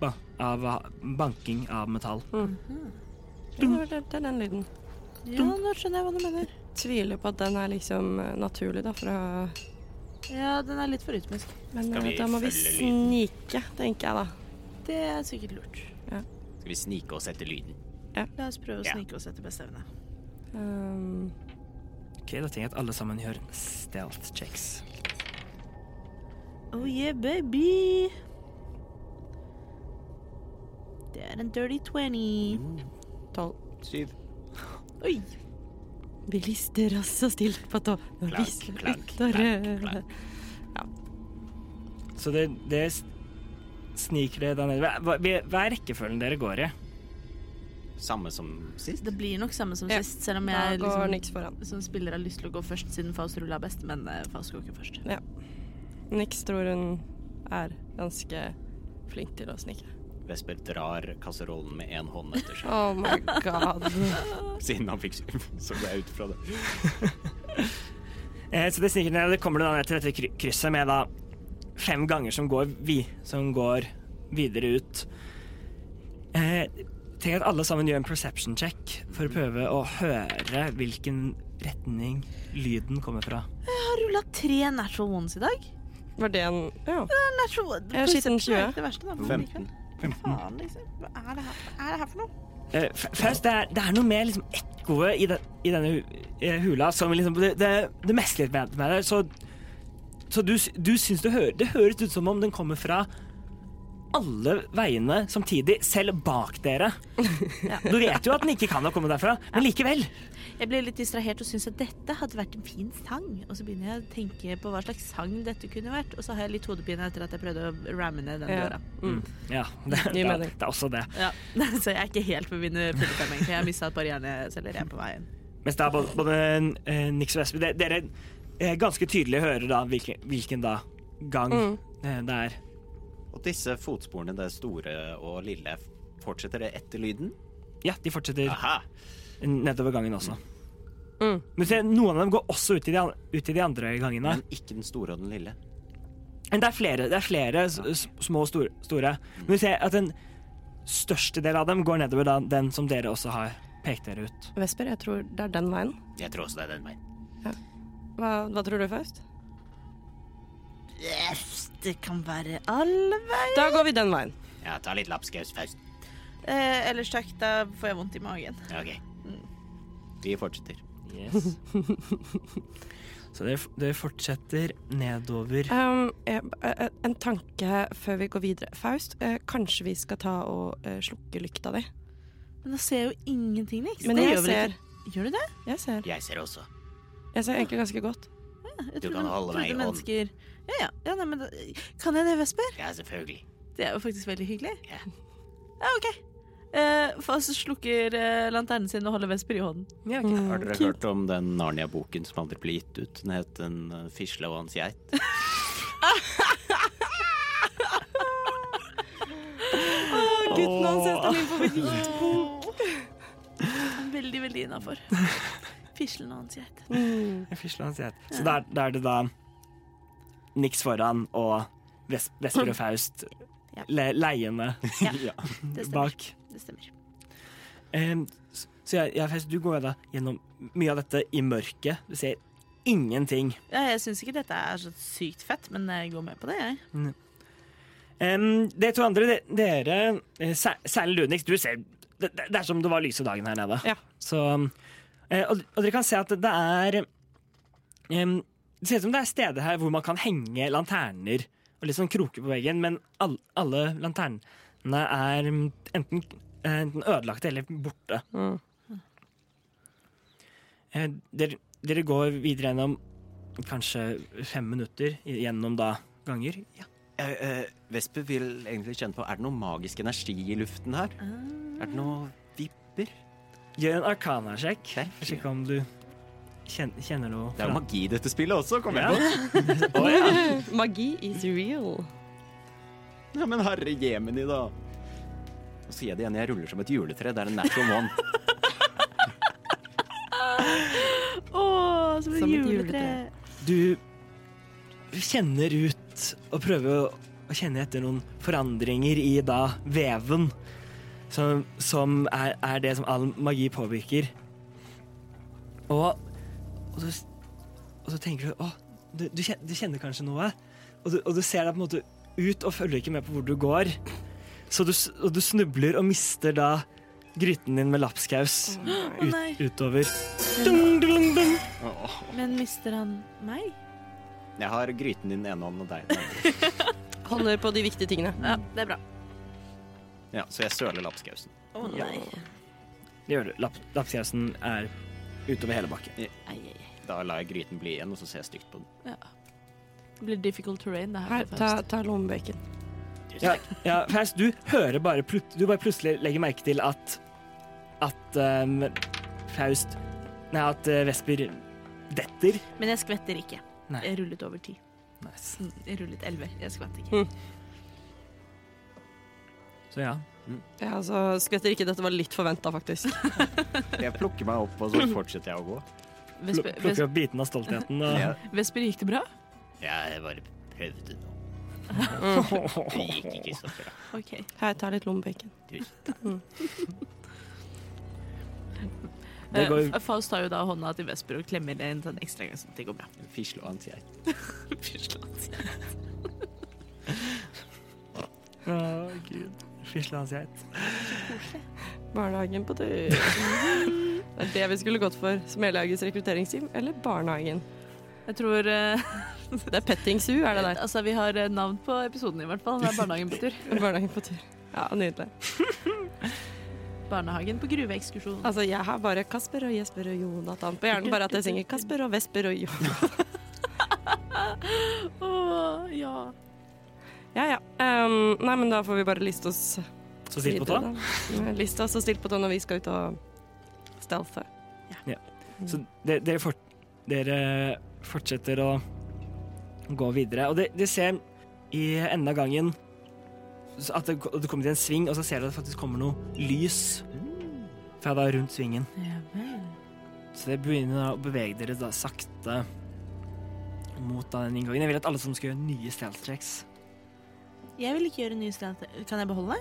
ba, av ha- banking av metall.
Det var- det- det er den lyden.
Ja, nå skjønner jeg hva du mener.
Tviler på at den er liksom eh, naturlig, da, fra
Ja, den er litt for rytmisk.
Men
Skal
eh,
vi
da må vi
følge lyden?
snike, tenker jeg da.
Det er sikkert lurt.
Skal vi snike oss etter lyden?
La oss prøve å
Ja.
snike oss etter beste evne.
Um,
Ok, Da tenker jeg at alle sammen gjør stealth checks.
Oh yeah, baby! Det er en dirty 20.
tolv.
Syv.
Oi!
Vi lister oss så stilt på tå. Nå
Klank,
visler
klank, klank,
ytteret.
klank.
Så det, det s- sniker det der nede. Hva- Hva, hva er rekkefølgen dere går i?
Samme som sist.
Det blir nok samme som
Ja.
sist, selv om
Da
jeg
går
liksom,
Nix foran.
som spiller har lyst til å gå først, siden Faust rulla best, men eh, Faust går ikke først.
Nix tror hun er ganske flink til å snike.
Vesper drar kasserollen med én hånd etter seg,
Oh my god.
siden han fikk syv. Så går jeg ut fra det.
Eh, så det sniker ned, og det kommer det da ned til dette kry- krysset med da fem ganger som går, vi, som går videre ut. Eh, tenk at alle sammen gjør en perception check for å prøve å høre hvilken retning lyden kommer fra.
har rulla tre natural ones i dag.
Var det en Ja.
Natural
Jeg har skitt en
Perception er
20.
ikke Det verste, da, men
15.
likevel. Faen, liksom. Hva er det her, hva er det her for noe?
Eh, f- Først, det er, det er noe med liksom ekkoet i, den- i denne hu- eh, hula som liksom Det, det, det mesler litt med, med det. Så, så du, s- du syns det, hø- det høres ut som om den kommer fra alle veiene samtidig, selv bak dere. Du vet jo at den ikke kan ha kommet derfra, men likevel.
Jeg ble litt distrahert og syntes at dette hadde vært en fin sang. Og så begynner jeg å tenke på hva slags sang dette kunne vært, og så har jeg litt hodepine etter at jeg prøvde å ramme ned den
Ja.
døra.
Mm.
Ja, det, det,
Gir
er-
mening.
det er også det.
Ja. Så jeg er ikke helt på mine fulle fem, egentlig. Jeg har mista et par hjerneceller igjen på veien.
Mens da både, både eh, Nix og Espen de- Dere eh, ganske tydelig hører da hvilken, hvilken da gang
Mm.
eh, det er.
Og disse fotsporene, det store og lille, fortsetter det etter lyden?
Ja, de fortsetter
Aha!
nedover gangen også.
Mm.
Men se, noen av dem går også ut i de, an- ut i de andre gangene.
Men ikke den store og den lille.
Mm. Men det er flere, det er flere s- s- små og store, store. Men vi ser at den største delen av dem går nedover da, den som dere også har pekt dere ut.
Vesper, jeg tror det er den veien.
Jeg tror også det er den veien.
Hva, hva tror du, Faust?
Det kan være alle veier.
Da går vi den veien.
Ja, ta litt lapskaus, Faust.
Eh, ellers takk, da får jeg vondt i magen.
Ja, OK. Vi fortsetter.
Yes. Så dere, f- dere fortsetter nedover.
Um, jeg, eh, en tanke før vi går videre. Faust, eh, kanskje vi skal ta og eh, slukke lykta di?
Men da ser jeg jo ingenting, Nix.
Men jeg ser,
Gjør du det?
jeg ser
Jeg ser også.
Jeg ser egentlig ganske godt.
Jeg
Du
trodde-
kan holde meg
trodde
i hånden.
mennesker- Ja, ja. ja nei, men da, kan jeg det, Vesper?
Ja, selvfølgelig.
Det er jo faktisk veldig hyggelig.
Ja.
Ja, OK. Eh, Fast slukker eh, lanternen sin og holder Vesper i hånden.
Har dere hørt om den Narnia-boken som aldri ble gitt ut? Den het Den eh, fisla og hans geit.
Gutten hans heter min
Veldig, veldig innafor. Fislen og hans geit.
Jeg fisler hans geit. Så da er- da er det da Nix foran og Ves- Vesper og Faust
Ja.
le leiende
Ja.
Ja.
Det stemmer.
bak.
Det stemmer.
Em, s- så jeg, jeg, Faust, du går jo da gjennom mye av dette i mørket. Du ser ingenting.
Ja, jeg syns ikke dette er så sykt fett, men jeg går med på det, jeg.
Em, de to andre, de, dere, eh, sær- særlig du, Nix, du ser det, det det er som det var lyse dagen her nede.
Ja.
Så, eh, og, og dere kan se at det er em, Det ser ut som det er steder her hvor man kan henge lanterner og litt sånn kroker på veggen, men all, alle lanternene er mm, enten, eh, enten ødelagte eller borte.
Mm.
Eh, dere, dere går videre gjennom kanskje fem minutter gjennom da ganger. Ja.
Eh, eh, Vesper vil egentlig kjenne på Er det noe magisk energi i luften her? Er det noe vipper?
Gjør en arcana-sjekk.
Thank
For å sjekke om du kjen- kjenner noe.
Det er jo
fra-
magi i dette spillet også, kom
Ja.
jeg på.
Magi is real.
Ja, men herre jemeni, da. Og så sier jeg det igjen, jeg ruller som et juletre. Det er en natural one.
Å, som et
Som et
juletre.
juletre.
Du kjenner ut og prøver å- å kjenne etter noen forandringer i da veven, som, som er, er det som all magi påvirker. Og, og, så, og så tenker du Å, du, du, kjenner, du kjenner kanskje noe? Og du, og du ser deg på en måte ut og følger ikke med på hvor du går. Så du, s- og du snubler og mister da gryten din med lapskaus ut,
nei.
utover. Dung, dung, dung.
Åh.
Men mister han meg?
Jeg har gryten i den ene hånden og deg i den andre.
Holder på de viktige tingene.
Ja, det er bra.
Ja, så jeg søler lapskausen.
Å nei.
Det gjør du. Lapp, lapskausen er utover hele bakken.
Ai, ai, ai.
Da lar jeg gryten bli igjen, og så ser jeg stygt på den.
Det blir difficult terrain, det her.
Her,
for
ta,
Faust.
ta lommebøken.
Ja, ja Faust, du hører bare, plut du bare plutselig legger merke til at at um, Faust Nei, at eh, Vesper detter.
Men jeg skvetter ikke.
Nei.
Jeg rullet over ti.
Nice.
Mm, Jeg rullet elleve. Jeg skvatt ikke.
Så ja.
Ja, altså, skvetter ikke, dette var litt forventa, faktisk.
Jeg plukker meg opp, og så fortsetter jeg å gå.
Pl
Vesper,
plukker opp biten av stoltheten. Og,
Ja.
Ves- Vesper, gikk det bra?
Jeg bare prøvde nå. Det gikk ikke så bra.
Ok.
Her, ta litt lommebøken.
Det går jo
Eh, Faust tar jo da hånda til Vesper og klemmer det inn sånn ekstra gang, sånn at det går bra.
Fisle og ansikt.
Å, gud. Fislandsgeit.
Barnehagen på tur. Det er det vi skulle gått for. Smelhauges rekrutteringsteam eller barnehagen.
Jeg tror eh,
Det er petting zoo, er det der.
Altså, vi har eh, navn på episoden i hvert fall. Det er Barnehagen på tur.
Barnehagen på tur. Ja, nydelig.
Barnehagen på gruveekskursjon.
Altså, jeg har bare Kasper og Jesper og Jonathan på hjernen. Bare at jeg synger Kasper og Vesper og Jonathan.
Åh, ja.
Ja, ja. Ehm, nei, men da får vi bare liste oss
Så sitt på tå.
videre, da. Ja, Liste oss og stilt på tå når vi skal ut og stealthe.
Så de- dere, fort, dere fortsetter å gå videre. Og de- dere ser i enden av gangen så at det, ko- det kommer til en sving, og så ser dere at det faktisk kommer noe lys fra da rundt svingen. Så dere begynner da å bevege dere da sakte mot da den inngangen. Jeg vil at alle som skal gjøre nye stealth tracks
Jeg vil ikke gjøre nye slant. Kan jeg beholde?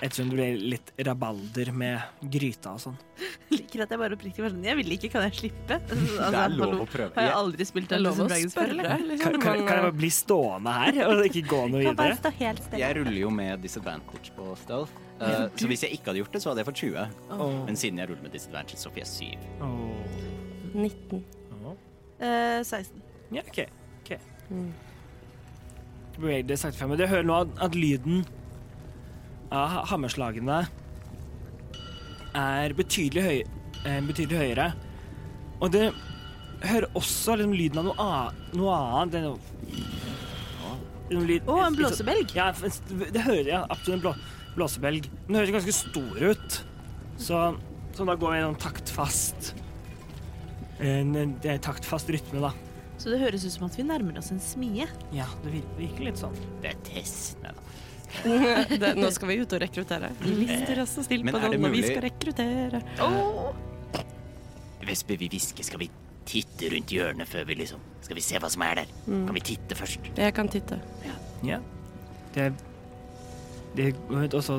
Ettersom det blir litt rabalder med gryta og sånn.
Liker at jeg bare oppriktig var sånn Jeg vil ikke, kan jeg slippe?
Det
Altså,
er lov
hallo,
å prøve.
Har jeg
Jeg,
aldri spilt
Det er lov å
Dungeons Dragons før, eller?
spørre.
Kan,
Liksom,
kan, kan jeg bare bli stående her og ikke gå noe
sånn Kan bare
videre?
stå helt stille.
jeg ruller
ruller jo med disadvantage på stealth. Eh, så hvis jeg ikke hadde gjort det, så hadde jeg fått 20.
Åh.
Men siden jeg ruller med disadvantage, så får jeg 7.
Åh.
19.
Åh.
Eh, 16.
Ja, OK. ok.
Mm.
Du beveger deg sakte frem, men Du hører nå at, at lyden av ha- hammerslagene er betydelig, høy, eh, betydelig høyere. Og du hører også liksom, lyden av noe, a, noe annet. Det er noe, Liksom
Å,
lyd-
en
litt sånn-
blåsebelg?
Ja, f- det hører jeg. Absolutt en blå, blåsebelg. Den høres ganske stor ut, så, så da går vi gjennom taktfast eh, en, en, en taktfast rytme, da.
Så det høres ut som at vi nærmer oss en smie.
Ja, det vir- virker litt sånn.
Det er Tess. Nei da.
det, nå skal vi ut og rekruttere. Vi lister oss og stilt
Men
på
er
sånn
tå
det
når vi
mulig-
skal rekruttere.
Vespe, vi hvisker. Skal vi titte rundt hjørnet før vi liksom Skal vi se hva som er der?
Mm.
Kan vi titte først?
Jeg kan titte.
Ja. Det, det går ut også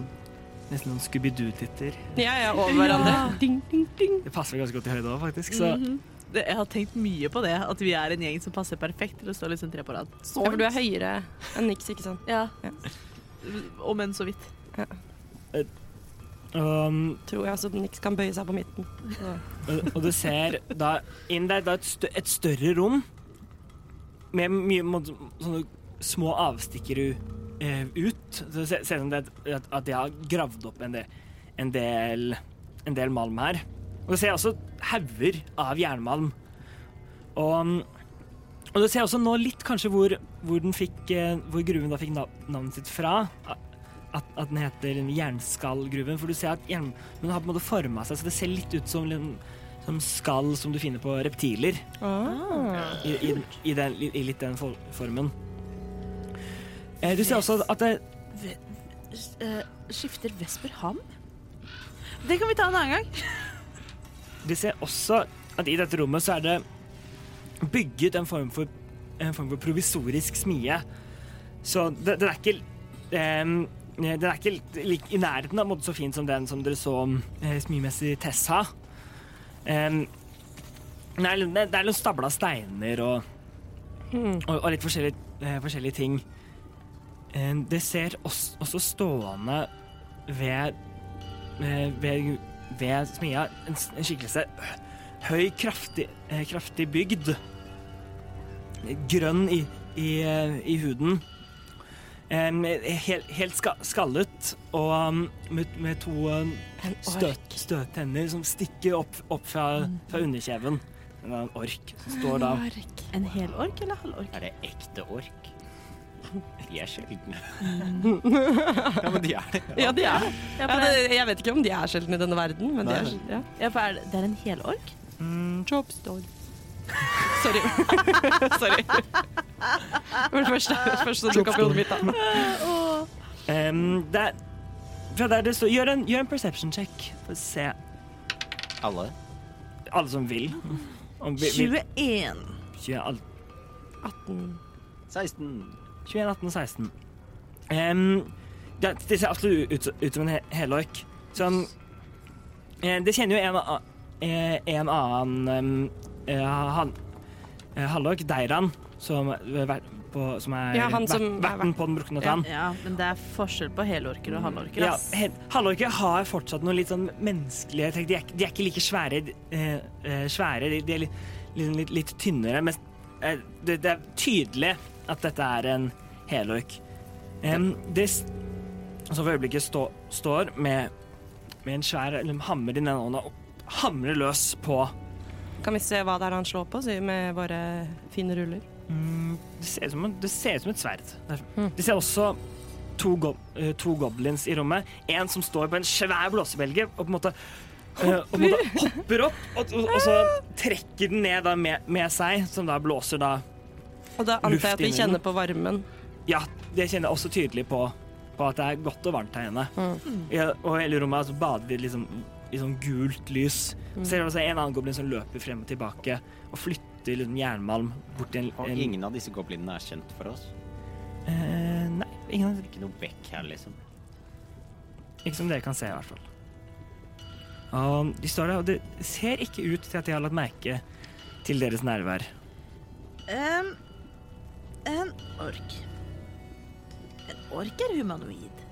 nesten noen Scooby-Doo-titter.
Ja, ja, over hverandre. Ding, ding, ding.
Det passer vel ganske godt i høyde òg, faktisk. Så
Det, jeg har tenkt mye på det, at vi er en gjeng som passer perfekt til å stå liksom tre på rad.
Ja, for du er høyere enn Nix, ikke sant?
Ja. Om enn så vidt.
um,
Tror jeg altså at Nix kan bøye seg på midten. Så.
og, og du ser da inn der da et, stø et større rom med mye må- sånne små avstikkere u- eh, ut. Så det ser ser ut som det er et- at de har gravd opp en del, en del, en del malm her. Og du ser også hauger av jernmalm. Og, um, og du ser også nå litt kanskje hvor, hvor, den fikk, eh, hvor gruven da fikk nav navnet sitt fra. At, at den heter jernskallgruven, for du ser at jern, den har på en måte forma seg, så det ser litt ut som en som skall som du finner på reptiler. I, i, i, den, i, i litt den for, formen. Eh, du ser også at det
Eh, skifter Vesper ham? Det kan vi ta en annen gang.
De ser også at i dette rommet så er det bygget en form for, en form for provisorisk smie. Så det, den er ikke ehm, Den er ikke lik- i nærheten av en måte så fin som den som dere så eh, smimessig Tessa. Um, det er det er noen stabla steiner og, og, og litt forskjellige, eh, forskjellige ting. Eh, det ser også, også stående ved, eh, ved ved smia en, s- en skikkelse høy, kraftig, eh, kraftig bygd. Grønn i, i, eh, i huden. Em, helt helt ska, skallet og um, med, med to um,
En
støt, støttenner som stikker opp, opp fra, fra underkjeven. En annen ork som står da
En hel ork eller halv ork?
Er det ekte ork? De er sjeldne. ja, men de er det.
Ja, de er det.
Ja,
Ja,
for det,
det- jeg vet ikke om de er sjeldne i denne verden, men de er
Nei.
sjeldne. Ja.
ja, for er det, det er en hel ork?
Chopstone. Sorry. Sorry. Men først, først så dukket opp i hodet mitt, da.
Em, det er- Fra der det står Gjør en, gjør en perception check. Få se.
Alle.
Alle som vil. Om vi- vi-
21.
20, alle-
18.
16.
21, 18 og 16. Ehm, det, det ser absolutt ut, ut som en he- helork. Sånn Eh, Det kjenner jo en, a- eh, en annen em, eh, han, eh, Hallok, Deiran, som, eh, ver- på, som er
Ja, han
ver-
som er
verten på den brukne tann.
Ja, men det er forskjell på helorker og halvorker.
Ja,
ass.
he- Hallorker har fortsatt noen litt sånn menneskelige trekk. De, er ikke- de er ikke like svære. de- eh, eh, svære. De, de er litt, litt, litt, litt tynnere, men eh, det, det er tydelig at dette er en helork. Em, det s- som for øyeblikket stå, står med, med en svær eller en hammer i den ene hånda og hamrer løs på
Kan vi se hva det er han slår på sier, med våre fine ruller?
Mm, det, ser ut som, en- det ser ut som et sverd. Der. Det ser også to, go eh, to goblins i rommet. En som står på en svær blåsebelge og på en måte eh, og på en måte hopper opp, og, og, og så trekker den ned da med, med seg, som da blåser da
Og da antar jeg at
Luft
vi
inni den.
kjenner på varmen.
Ja, det kjenner jeg også tydelig på, på at det er godt og varmt her inne. Ja, og hele rommet altså, bader i liksom, i sånn gult lys. Så er det også en annen goblin som løper frem og tilbake og flytter liksom, jernmalm bort til en,
Og
en
ingen av disse goblinene er kjent for oss.
eh, Nei, ingen av
Ikke noe bekk her, liksom.
Ikke som dere kan se, i hvert fall. Og de står der, og det ser ikke ut til at de har lagt merke til deres nærvær.
Em, en ork. En ork er humanoid.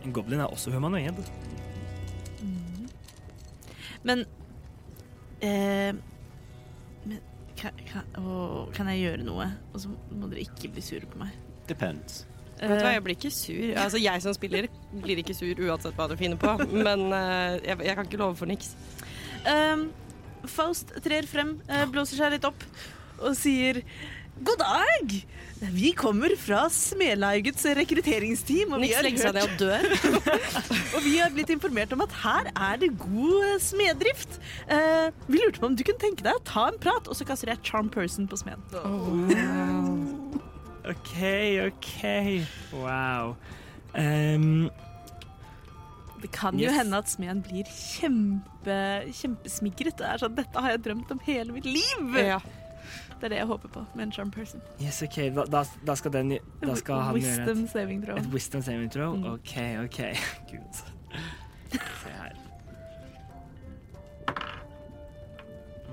En goblin er også humanoid.
Men eh, Men kan, kan, å, kan jeg gjøre noe? Og så må dere ikke bli sure på meg.
Depends.
Vet du hva, jeg blir ikke sur. Altså, jeg som spiller blir ikke sur uansett hva du finner på, men eh, jeg, jeg kan ikke love for niks.
Ehm, Faust trer frem, eh, blåser seg litt opp og sier God dag! Vi kommer fra Smelaugets rekrutteringsteam, og vi,
Niks
har
legger seg ned
hørt,
og dør.
og vi har blitt informert om at her er det god eh, smeddrift. Eh, vi lurte på om du kunne tenke deg å ta en prat, og så kaster jeg charm person på smeden.
OK, OK. Wow. Ehm,
Det kan
Yes.
jo hende at smeden blir kjempe, kjempesmigret og er sånn Dette har jeg drømt om hele mitt liv!
Ja.
Det er det jeg håper på med en charm person.
yes, OK. Da, da, da skal den Da skal han gjøre
Wisdom saving throw.
et, et wisdom saving throw? OK, OK. Gud. altså. Se her.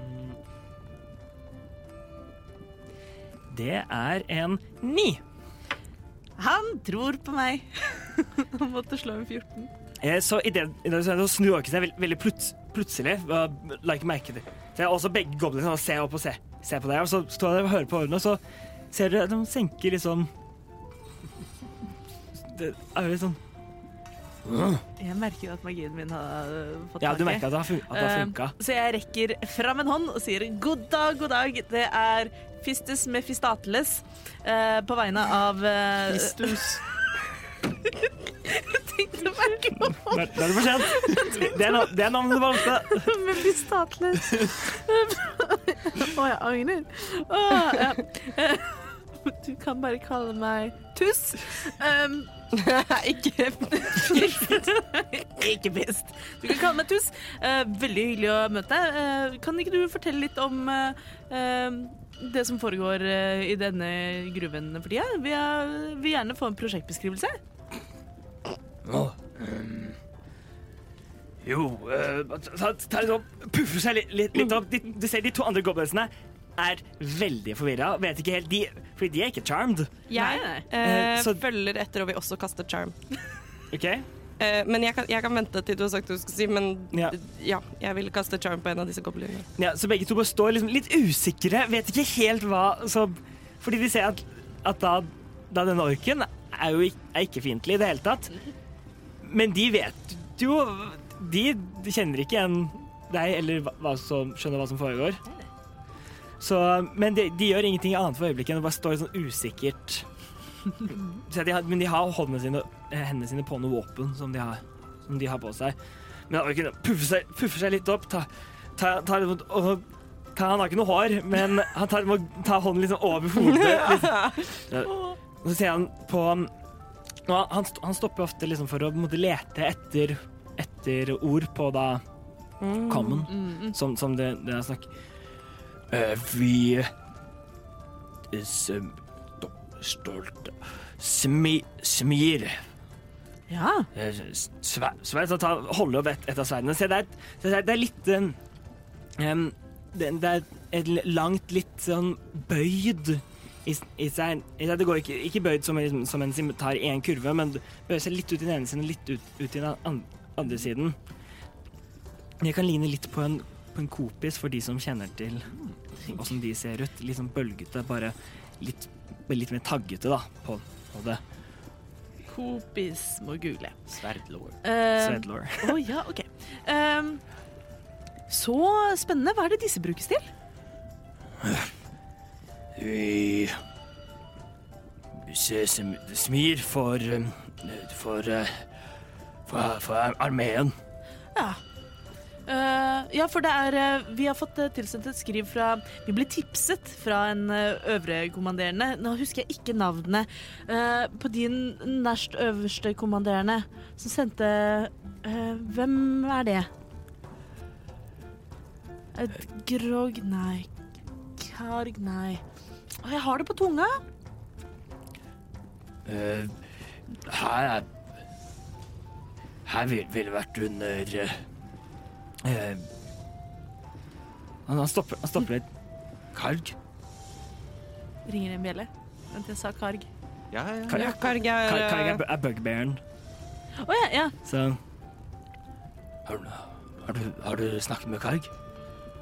Mm. Det er en ni.
Han tror på meg! Han måtte slå en 14.
Eh, Så i det, i det så så snur Orken seg veld, veldig plut, plutselig. og La ikke merke til Så jeg- også begge goblinene og ser opp og ser, ser på deg. Og så står jeg og hører på ordene, og så ser du at de senker litt sånn Det er jo litt sånn
Jeg merker jo at magien min har øh, fått
Ja, du merker
tak
at
i.
det har fun- at det har
Eh,
funka.
Så jeg rekker fram en hånd og sier god dag, god dag. Det er Fistus Mefistateles eh, på vegne av eh, tenkte meg ikke om.
Da da er det for sent. Det er, nav- det er navnet du valgte.
Men bli statløs. Å, jeg angrer. Å, ja. Eh, Du kan bare kalle meg Tuss. Um, ikke Ikke best. Du kan kalle meg Tuss. Eh, veldig hyggelig å møte deg. Eh, kan ikke du fortelle litt om eh, eh, det som foregår eh, i denne gruven for tida? Vi er- vil gjerne få en prosjektbeskrivelse.
Ehm, Jo eh, ta, ta litt opp, Puffer seg litt, litt, litt opp. De, du ser de to andre goblinsene er veldig forvirra. Vet ikke helt de Fordi de er ikke charmed.
Jeg
Nei,
eh,
Eh, så-
følger etter og vil også kaste charm.
OK?
Eh, men jeg kan, jeg kan vente til du har sagt det du skal si, men ja,
Ja.
jeg vil kaste charm på en av disse goblinene.
Ja, så begge to bare står liksom litt usikre, vet ikke helt hva så, Fordi de ser at, at da, da denne orken er jo ikke, er ikke fiendtlig i det hele tatt. Men de vet jo De kjenner ikke igjen deg eller hva, hva som, skjønner hva som foregår. Så, men de, de gjør ingenting annet for øyeblikket enn å bare står sånn usikkert. Så de har, men de har håndene sine, eh, hendene sine på noe våpen som de har, som de har på seg. Men orken puffer seg, puffer seg litt opp. Ta, ta, ta, og, og, ta, han har ikke noe hår, men han tar, må ta hånden liksom over hodet. Liksom. Og så ser han på og han, st- han stopper ofte liksom for å på en måte lete etter, etter ord på da
Mm.
common,
Mm.
som, som det, det er snakk. Eh, vi eh, er sem- stolte Smi, smir
Ja.
Eh, s- sve- Svein så tar- holder opp et, et av sverdene. Se, det er, et- se, det er- det er litt um, um, det, det er et l- langt, litt sånn bøyd i, s- i seg. I seg. Det går ikke, ikke bøyd som, en- som en som tar én kurve, men det bøyer seg litt ut i den ene siden og litt ut, ut i den an- andre siden. Det kan ligne litt på en, på en kopis for de som kjenner til åssen de ser ut. Litt sånn bølgete, bare litt, litt mer taggete da, på, på det.
Kopis må google.
Sverdlår.
Eh,
Svedelår.
Å ja, OK. Ehm, så spennende. Hva er det disse brukes til?
Vi se- sm- smir for um, for, uh, for, for armeen.
Eh, ja, for det er eh, Vi har fått eh, tilsendt et skriv fra Vi ble tipset fra en uh, øvrekommanderende. Nå husker jeg ikke navnene eh, på de n- nærst øverste kommanderende som sendte eh, Hvem er det? Et grog... Nei. Karg... Nei. Å, jeg har det på tunga.
Eh, her er Her ville vil det vært under eh, eh, han, han stopper, han stopper litt. Karg?
Ringer en bjelle. Vent, jeg sa karg.
Ja, ja.
Karg,
Ja, Karg er,
karg, karg er,
eh,
bu- er bugbearen,
Å ja, ja.
så har, du- har, du, har du snakket med Karg?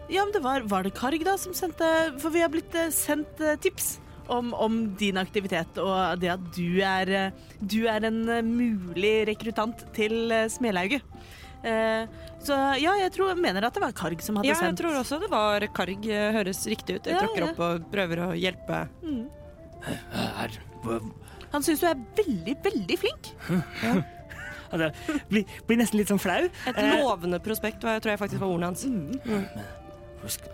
Ja, men det var, var det Karg da som sendte For vi har blitt eh, sendt eh, tips om, om din aktivitet og det at du er, eh, du er en eh, mulig rekruttant til eh, Smelauget. Eh, så ja, jeg tror, mener at det var Karg som hadde
eh, ja, jeg
sendt.
tror også det var Karg. eh, Høres riktig ut. Jeg
Ja,
tråkker
ja.
opp og prøver å hjelpe.
Eh, Her, hvor,
Han syns du er veldig, veldig flink.
Altså, blir, blir nesten litt sånn flau.
Et
Eh,
lovende prospekt var, tror jeg faktisk var ordene hans.
Husk,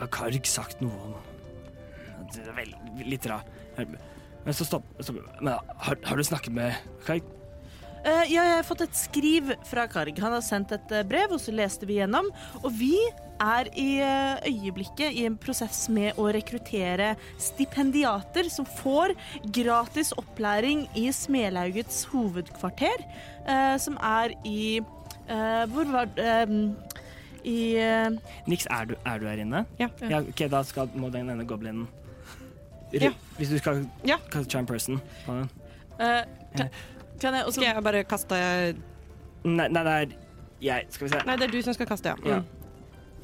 har Karg sagt noe om Det er vel, litt rart. Men så stopp, stopp. Men har, har du snakket med Karg?
Eh, ja, jeg har fått et skriv fra Karg. Han har sendt et eh, brev, og så leste vi gjennom. Og vi er i eh, øyeblikket i en prosess med å rekruttere stipendiater som får gratis opplæring i Smelaugets hovedkvarter, eh, som er i eh, Hvor var det eh, I eh,
Nix, er du, er du her inne?
Ja.
Ja, ok, Da skal, må den ene goblinen Ru-
Ja.
Hvis du skal
Ja.
skal charm person på den.
eh, kan, kan jeg også
Skal jeg bare kaste
Nei, nei, det er jeg. Skal vi se.
Nei, Mm. det er du som skal kaste, ja.
Ja.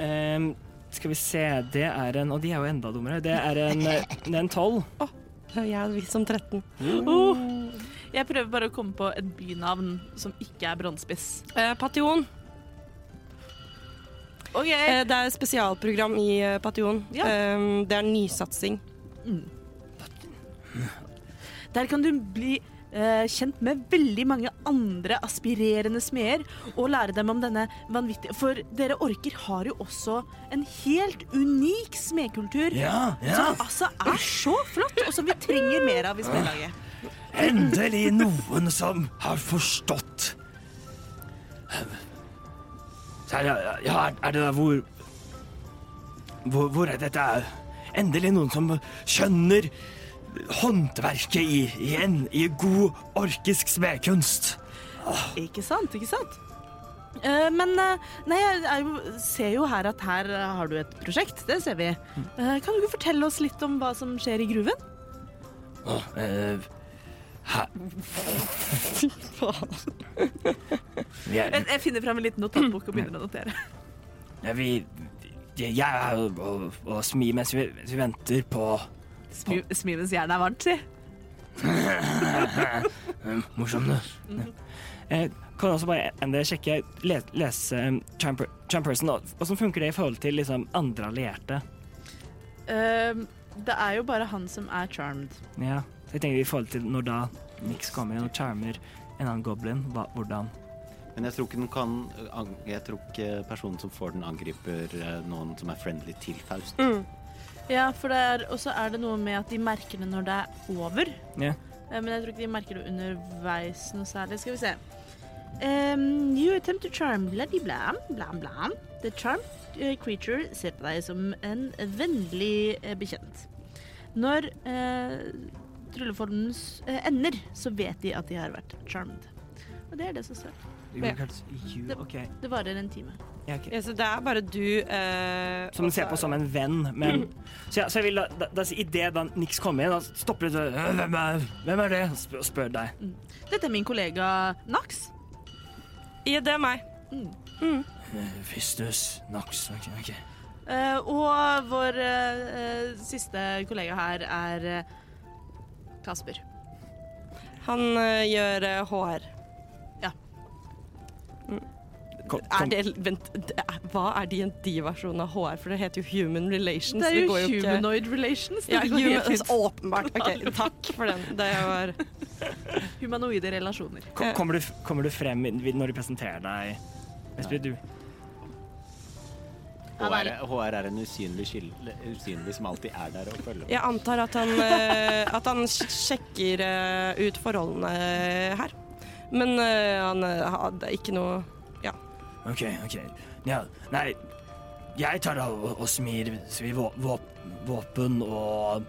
Ehm, skal vi se, det er en Og de er jo enda dummere. Det er en, det er en tolv.
Mm. Ja, Jeg er visst som 13.
oh, Jeg prøver bare å komme på et bynavn som ikke er Brønnspiss.
Eh, Pation.
OK.
Eh, det er et spesialprogram i eh, Pation.
Ja.
Eh, det er nysatsing.
Der kan du bli eh, kjent med veldig mange andre aspirerende smeder og lære dem om denne vanvittige For dere orker har jo også en helt unik smedkultur.
Ja,
Som altså er så flott, og som vi trenger mer av i smedlaget.
Endelig noen som har forstått. Eh, Så er det- Ja, er- er det da hvor, hvor Hvor er dette er? Endelig noen som skjønner håndverket i, i, en, i god orkisk smedkunst.
Ikke sant? Ikke sant? Eh, men eh, nei, jeg er jo, ser jo her at her eh, har du et prosjekt. Det ser vi. Eh, kan du ikke fortelle oss litt om hva som skjer i gruven?
Åh, eh, her. Vi er-
Jeg, jeg finner fram en liten notatbok og begynner å notere.
Ja, vi Jeg er jo og, og smir mens vi, mens vi venter på
Smi, smi mens jernet er varmt, si.
Morsom, du. Eh, kan jeg også bare enda sjekke le- lese um, Charm Per- Charm Person, og hvordan funker det i forhold til liksom, andre allierte?
Ehm, det er jo bare han som er charmed.
Ja, så jeg tenker i forhold til når da Nix kommer inn og charmer en annen goblin, hva, hvordan
Men jeg tror ikke den kan ang- Jeg tror ikke personen som får den, angriper eh, noen som er friendly til Faust.
Mm. Ja, for det er, og så er det noe med at de merker det når det er over.
Ja.
Eh, Men jeg tror ikke de merker det underveis noe særlig. Skal vi se. Ehm, you attempt to charm bloody blam, blam, blam. The charmed eh, creature ser på deg som en vennlig eh, bekjent. Når eh, trylleformens eh, ender, så vet de at de har vært charmed. Og det er det som står.
You
Ja.
can't- you- ok.
Det varer en time.
Ja, ok.
Ja, så det er bare du eh,
Som
og
ser
så
på
er
som en venn, men Så, ja, så jeg vil da, da, da Idet da Nix kommer inn, da stopper du sånn «Øh, hvem, er- hvem er det? Og spør, spør deg.
Dette er min kollega Nax.
det- Ja, det er meg.
Eh, Fistus, Nax ok, ok.
Eh, og vår eh, eh, siste kollega her er eh, Kasper.
Han eh, gjør eh, HR.
Kom,
Er
kom.
det, vent, det er, hva er D&D-versjonen av HR? For det heter jo Human Relations.
Det er jo,
går ikke-
humanoid relations.
Ja,
det går helt
human, altså,
fint.
åpenbart. Ok, takk for den. Det var
Humanoide relasjoner.
Kom, kommer, du, f- kommer du frem i- når de presenterer deg? Vesper, du
Han
HR,
er-
HR er en usynlig, skille, usynlig som alltid er der og følger med.
Jeg antar at han, eh, at han sj- sjekker eh, ut forholdene her. Men eh, han eh, hadde ikke noe
OK, OK. Ja, nei Jeg tar da og, og smir, smir vå, vå, våpen og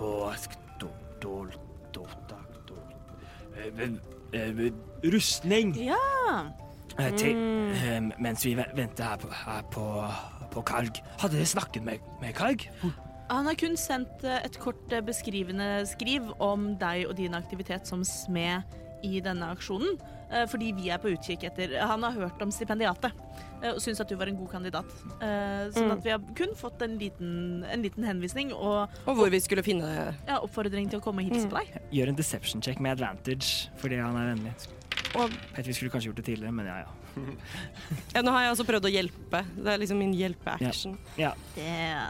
Og sk- do, do, do, da, do, eh, eh, Rustning.
Ja.
Eh, til, eh, mens vi ve- venter her på, her på, på Kalg. Hadde dere snakket med, med Kalg?
Han har kun sendt eh, et kort eh, beskrivende skriv om deg og din aktivitet som smed i denne aksjonen, eh, fordi vi er på utkikk etter Han har hørt om stipendiatet eh, og syns at du var en god kandidat. Eh, Sånn at vi har kun fått en liten, en liten henvisning og
Og hvor vi skulle finne
ja, oppfordring til å komme og hilse på deg.
Gjør en deception check med advantage fordi han er vennlig.
Og-
Vet, vi skulle kanskje gjort det tidligere, men ja ja.
ja, Nå har jeg altså prøvd å hjelpe. Det er liksom min hjelpeaction.
ja.
Det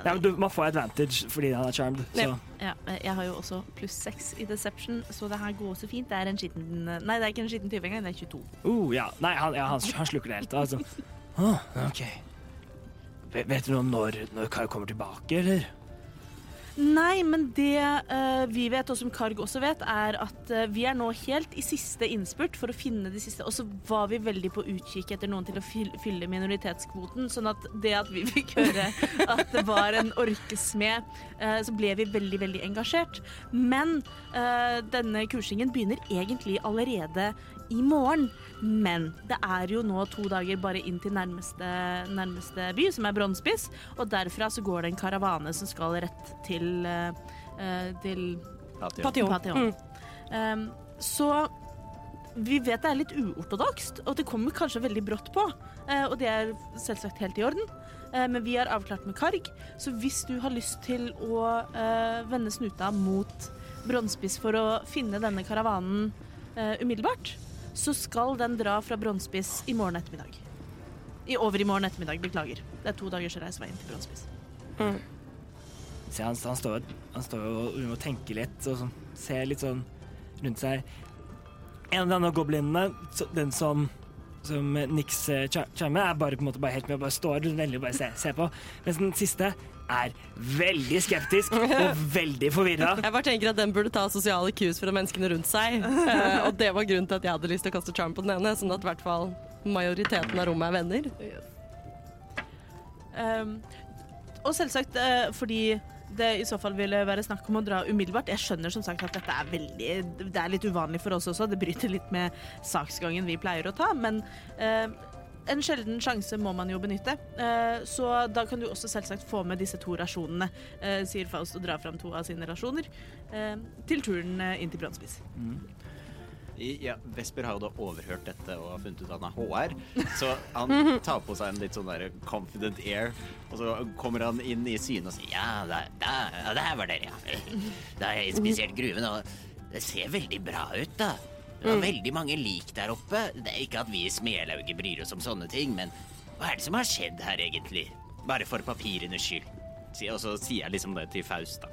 Nei, men du, man får advantage fordi han er charmed. Så.
Ja.
Ja, eh, jeg har jo også pluss seks i deception, så det her går så fint. Det er en skitten Nei, det er ikke en skitten tyve engang, det er 22.
Uh, ja. Nei, han, ja, han, han sluker det helt. Altså. Ah, OK. Vet, vet du noe om når, når Kalg kommer tilbake, eller?
Nei, men det eh, vi vet, og som Karg også vet, er at eh, vi er nå helt i siste innspurt for å finne de siste. Og så var vi veldig på utkikk etter noen til å fyl- fylle minoritetskvoten, sånn at det at vi fikk høre at det var en orkesmed, eh, så ble vi veldig, veldig engasjert. Men eh, denne kursingen begynner egentlig allerede i morgen. Men det er jo nå to dager bare inn til nærmeste, nærmeste by, som er Brønnspiss. Og derfra så går det en karavane som skal rett til, eh, eh, til
Patio.
Patio. Mm.
Pantheon. Um, så vi vet det er litt uortodokst, og det kommer kanskje veldig brått på. eh, og det er selvsagt helt i orden, Eh, men vi har avklart med Karg. Så hvis du har lyst til å eh, vende snuta mot Brønnspiss for å finne denne karavanen eh, umiddelbart, så skal den dra fra Brønnspiss i morgen ettermiddag. I over i morgen ettermiddag, beklager. Det er to dagers reis veien til Brønnspiss.
Se, han, han står han står jo og- og tenker litt og sånn, ser litt sånn rundt seg. En av de andre goblinene, så- den som, som Nix eh, cha- charmer, er bare på en måte bare helt med og bare står veldig og bare ser, ser på. Mens den siste er veldig skeptisk og veldig forvirra.
Jeg bare tenker at Den burde ta sosiale cues fra menneskene rundt seg. Eh, og det var grunnen til at jeg hadde lyst til å kaste charm på den ene, sånn at i hvert fall majoriteten av rommet er venner.
Um, og selvsagt eh, fordi det i så fall ville være snakk om å dra umiddelbart. Jeg skjønner som sagt at dette er veldig Det er litt uvanlig for oss også. Det bryter litt med saksgangen vi pleier å ta, men eh, en sjelden sjanse må man jo benytte. Eh, så da kan du også selvsagt få med disse to rasjonene, eh, sier Faust og drar fram to av sine rasjoner, eh, til turen eh, inn til Brannspiss.
I- Ja, Vesper har jo da overhørt dette og har funnet ut at han er HR, så han tar på seg en litt sånn der confident air, og så kommer han inn i syne og sier Ja, der, der, ja, der var dere, ja. Da har jeg inspisert gruven, og det ser veldig bra ut, da. Det var veldig mange lik der oppe. Det er ikke at vi i Smelauget bryr oss om sånne ting, men hva er det som har skjedd her, egentlig? Bare for papirenes skyld. Sier- Og så sier jeg liksom det til Faust, da.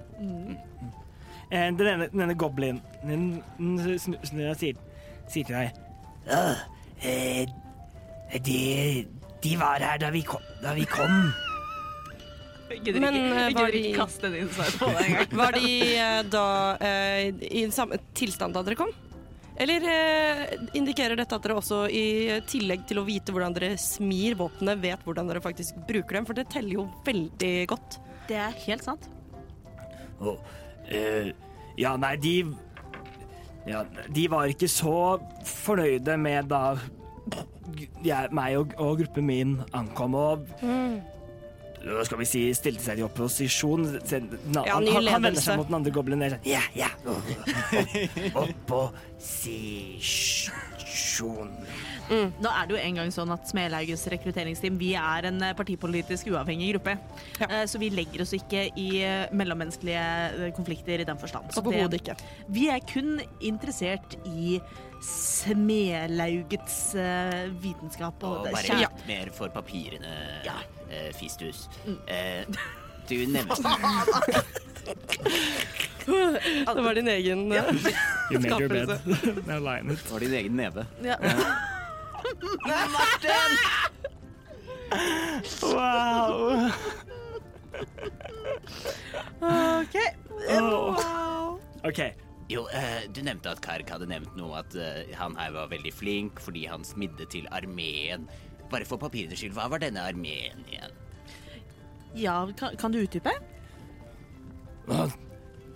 Eh, Den ene, den ene goblinen den snu- snur og sier, sier til deg «Åh, eh, de, de var her da vi kom. Da vi kom.
Gidder
Men, eh,
ikke,
var
gidder
de-
ikke kaste den innsiden på deg engang.
Var de eh, da eh, i samme tilstand da dere kom? Eller eh, indikerer dette at dere også i tillegg til å vite hvordan dere smir våpnene, vet hvordan dere faktisk bruker dem? For det teller jo veldig godt.
Det er helt sant.
Og, eh, Ja, nei, de ja, De var ikke så fornøyde med da jeg, meg og, og gruppen min ankom og
Mm.
Hva Skal vi si stilte seg i opposisjon? Se, na,
Ja,
han,
ny
han, han vender
ledelse.
seg mot den andre goblinen. og er sånn, Ja, ja. Opposisjon.
Nå er det jo en gang sånn at Smelhauges rekrutteringsteam Vi er en eh, partipolitisk uavhengig gruppe. Eh, Så vi legger oss ikke i eh, mellommenneskelige eh, konflikter i den forstand. Så det-
Overhodet ikke.
Vi er kun interessert i Smelaugets eh, vitenskap og,
Og
det-
bare
kjær-
litt mer for papirene,
Ja. Mm.
eh, Fistus. Eh, du nevnte
Det var din egen eh,
You made your bed.
Skapelse.
Now lie in it.
Det var din egen neve.
Wow.
OK.
OK.
Jo, eh, du nevnte at Karg hadde nevnt noe at eh, han her var veldig flink fordi han smidde til armeen. Bare for papirenes skyld, hva var denne armeen igjen?
Ja, kan, kan du utdype?
Og,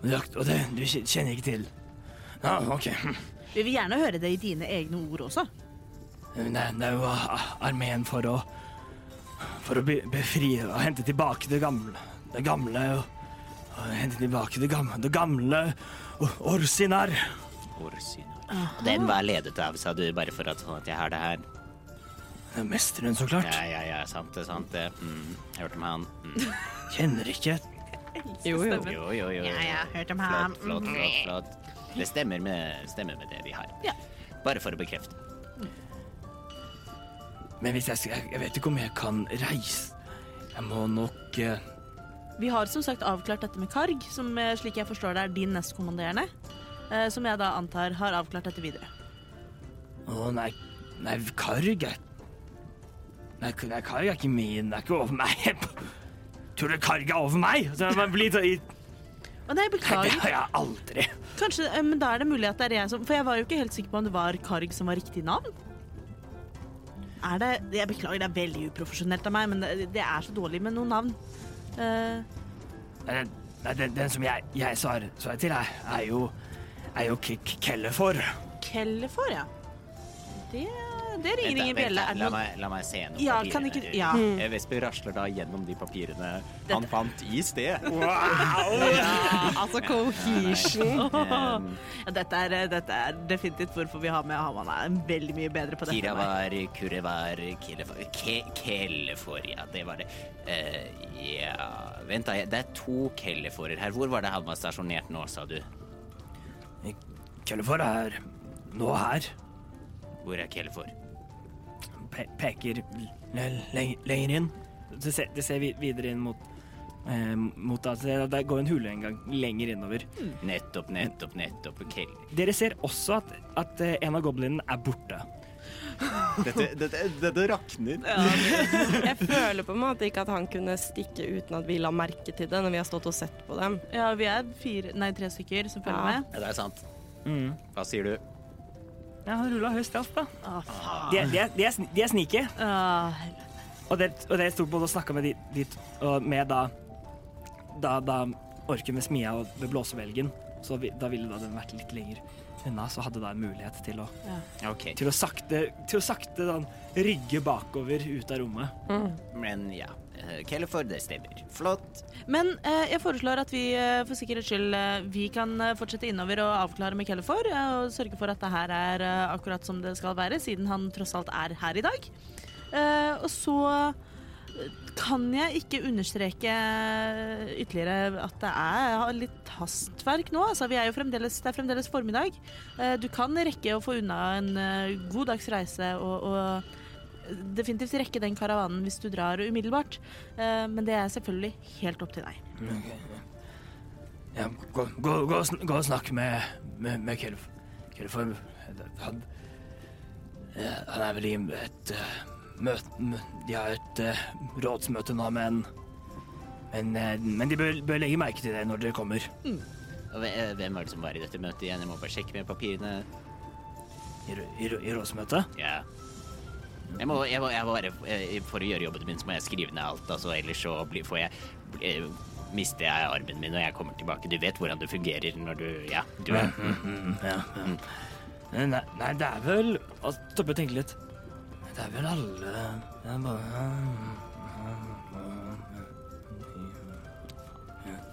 og det du kjenner ikke til? Ja, OK.
Vi vil gjerne høre det i dine egne ord også.
Det, det er jo a- armeen for å For å be, befri og hente tilbake det gamle Det gamle og, og Hente tilbake det gamle, det gamle Or- Orsinar.
Orsinar. Den var ledet av, sa du, bare for at, sånn at jeg har det her.
Det er Mesteren, så klart.
Ja, ja, ja, sant det, sant det. Mm, hørte om han. Mm.
Kjenner ikke
Jo, jo.
Jo, jo, jo.
Ja, ja, hørte om ham.
Flott, flott, flott, flott. Det stemmer med, stemmer med det vi har.
Ja.
Bare for å bekrefte.
Men hvis jeg skal Jeg vet ikke om jeg kan reise Jeg må nok eh,
Vi har som sagt avklart dette med Karg, som eh, slik jeg forstår det er din nestkommanderende. eh, Som jeg da antar har avklart dette videre.
Å nei Nei, Karg er Nei, k- nei Karg er ikke min Det er ikke over meg Tror du Karg er over meg? Så jeg bare blir så i-
Å nei,
Det
beklager.
har jeg aldri
Kanskje, eh, men da er det mulig at det er jeg som For jeg var jo ikke helt sikker på om det var Karg som var riktig navn. Er det Jeg beklager, det er veldig uprofesjonelt av meg, men det, det er så dårlig med noen navn. Eh,
Nei, den, nei, den, den som jeg, jeg svarer, svarer til, er, er jo, er jo K K Kellefor.
Kellefor, ja. Det, det
Vent
ringer
da,
ingen
vent
bjelle.
da,
Er det
La
noe-
meg, la meg se gjennom
Ja,
papirene.
kan ikke- ja.
Eh, Vesper rasler da gjennom de papirene han fant i sted.
Altså cohesion.
Um,
Ja, dette, er, dette er definitivt hvorfor vi har med Haman. Er veldig mye bedre på dette. enn meg.
Kiravar, Kurevar, Kelefor Ke Kelefor, ja, det var det. Eh, ja Vent, da. jeg- Det er to Keleforer her. Hvor var det han var stasjonert nå, sa du?
Kellefor er nå her.
Hvor er Kelefor?
Pe peker l- le- lenger inn. Det ser, det ser vi videre inn mot, eh, mot da, det, Der går en hule en gang lenger innover.
Hmm.
Nettopp, nettopp, nettopp. Kel
Dere ser også at, at eh, en av goblinene er borte.
dette, dette, dette rakner.
Jeg føler på en måte ikke at han kunne stikke uten at vi la merke til det når vi har stått og sett på dem.
Ja, vi er fire, nei, tre stykker som følger
Ja.
med.
Ja, det er sant.
Mm.
Hva sier du?
Jeg har rulla høy stealth, da.
Å, faen.
De, er- de, er- de, er sn- de er sneaky.
Å, helvete.
Og det, og det sto på og snakka med de, de to- og med da, da, da orken med smia og med blåsevelgen. Så vi, da ville da den vært litt lenger unna, så hadde da en mulighet til å,
OK.
til å sakte, til å sakte da, rygge bakover ut av rommet.
Men ja. eh, Kelefor, det stemmer. Flott.
Men eh, jeg foreslår at vi eh, for sikkerhets skyld eh, vi kan eh, fortsette innover og avklare med Kellefor eh, og sørge for at det her er eh, akkurat som det skal være, siden han tross alt er her i dag. Eh, og så eh, kan jeg ikke understreke ytterligere at det er litt hastverk nå. Altså, vi er jo fremdeles, det er fremdeles formiddag. Eh, du kan rekke å få unna en eh, god dags reise og, og definitivt rekke den karavanen hvis du drar umiddelbart. Eh, men det er selvfølgelig helt opp til deg.
Ja, gå, gå, gå, og sn- gå og snakk med, med, med Kelf. Kelfor han, ja, han er vel i et eh, møte mø- De har et eh, rådsmøte nå, men Men, eh, men de bør, bør legge merke til det når dere kommer.
Og hve- eh, Hvem var det som var i dette møtet igjen? Jeg må bare sjekke med papirene.
I, rå- i, rå- i rådsmøtet?
Ja. Jeg må, jeg må, jeg må bare, eh, for å gjøre jobben min så må jeg skrive ned alt, altså, ellers så blir, får jeg bli- eh, mister jeg armen min når jeg kommer tilbake. Du vet hvordan det fungerer når du Ja, du er
Ja, ja. Nei, nei, det er vel altså, Stoppe og tenke litt. Det er vel alle det er bare... Nei,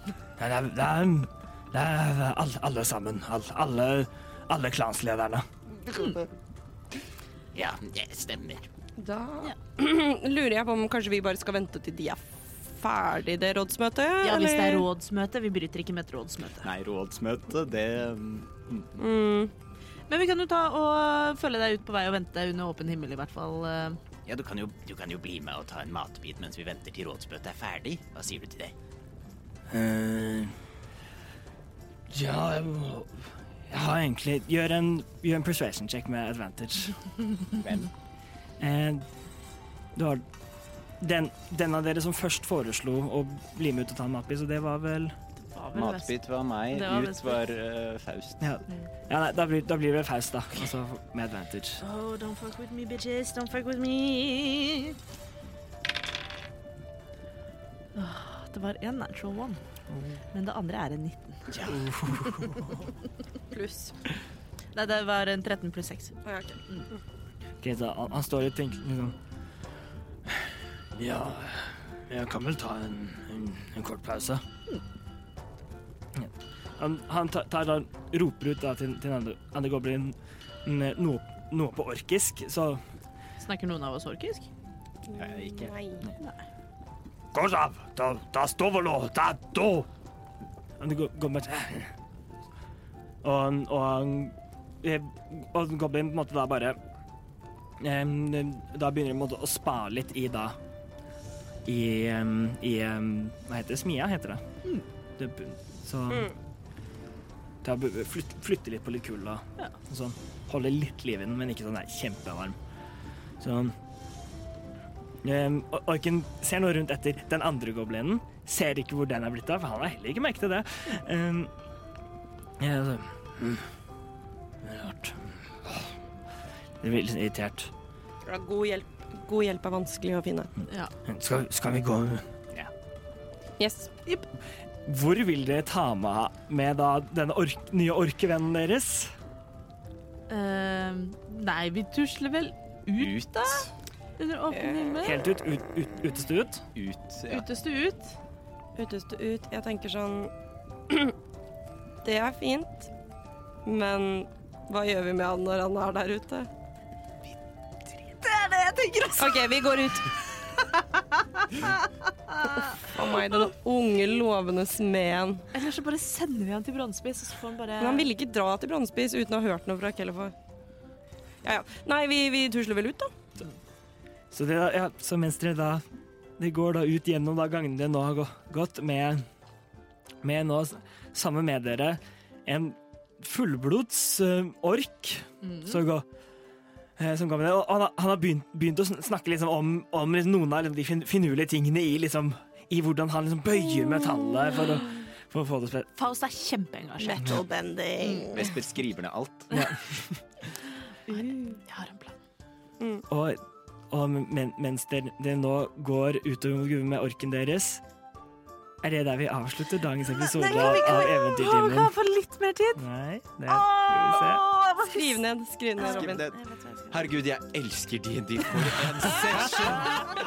det er, det er, det er alle, alle sammen. Alle, alle, alle klanslederne.
Ja, det stemmer.
Da lurer jeg på om kanskje vi bare skal vente til de er ferdig det rådsmøtet?
Ja, hvis det er
eller?
rådsmøte. Vi bryter ikke med et rådsmøte.
Nei, rådsmøte, det
Mm.
Men vi kan jo ta og eh, følge deg ut på vei og vente under åpen himmel, i hvert fall. eh.
Ja, du kan, jo, du kan jo bli med og ta en matbit mens vi venter til rådsmøtet er ferdig. Hva sier du til det?
Eh, ja jeg må- Jeg har egentlig Gjør en, gjør en persuasion check med advantage.
Hvem?
Eh, du har den, den av dere som først foreslo å bli med ut og ta en matbit, så det var vel
Var vel best.
Matbit var meg,
Det var
ut
Vesper.
var eh, Faust.
Ja, ja nei, da, blir, da blir det faust, da. Altså med advantage.
Oh, don't fuck with me, bitches. Don't fuck with me. Åh, Ah, Det var en natural one, men det andre er en 19.
Pluss.
Nei, det var en 13 pluss 6.
Å, ja, ok.
Ok, så han, han står litt tenk- liksom Ja, jeg kan vel ta en, en, en kort pause. Ja. Han, han tar, tar, da- roper ut da til, til den andre, andre goblin mm, noe, noe på orkisk, så
Snakker noen av oss orkisk?
Nei.
Kosav, da, da stovolo, da do! Og det går, går med Og han, og han eh, Og den goblin på en måte da bare em, Da begynner de på en måte å spa litt i da I, em, i em, Hva heter det? Smia, heter det. det bu- så ta, bu- flyt, Flytte litt på litt kulda. og Sånn. Holde litt liv i den, men ikke sånn der kjempevarm. Sånn. Um, og- Orken ser nå rundt etter den andre goblinen. Ser ikke hvor den er blitt av, for han har heller ikke merket til det. Um, ja, altså, mm, det er rart. Det blir litt irritert.
Ja, God hjelp. God hjelp er vanskelig å finne.
Skal, skal vi gå
Yes.
Hvor vil dere ta med, med da denne ork, nye orkevennen deres?
Eh, nei, vi tusler vel ut
Ut, da?
under
Eh.
åpen himmel.
Helt ut, ut, ut utestuet?
Ut, ja.
Uteste ut.
Uteste ut. Jeg tenker sånn Det er fint, men hva gjør vi med han når han er der ute? Det er det jeg tenker også. OK, vi går ut. Å nei, den unge, lovende smeden.
Eller så bare sender vi han til Bronsebiss, og så får han bare
Men han ville ikke dra til Bronsebiss uten å ha hørt noe fra Kellefor. Ja, ja. Nei, vi, vi tusler vel ut, da.
Så, det, da- ja, så mens dere da Det går da ut gjennom da gangene dere nå har gå- gått med, med nå, s- sammen med dere, en fullblods eh, ork som går eh, som går med det. Og han har, han har begynt, begynt å sn- snakke liksom om, om liksom noen av de fin, finurlige tingene i, liksom, i hvordan han liksom bøyer metallet for å, for å få det spre-
Faust er kjempeengasjert.
Metal bending.
Vesper skriver ned alt.
Jeg har en plan.
Og, og men, mens dere, dere nå går utover gruven med orken deres, er det der vi avslutter dagens episode av Eventyrtimen.
få litt mer tid?
Nei, det skal vi se.
Skriv ned, skriv ned, Robin.
Herregud, jeg elsker D&D for en session!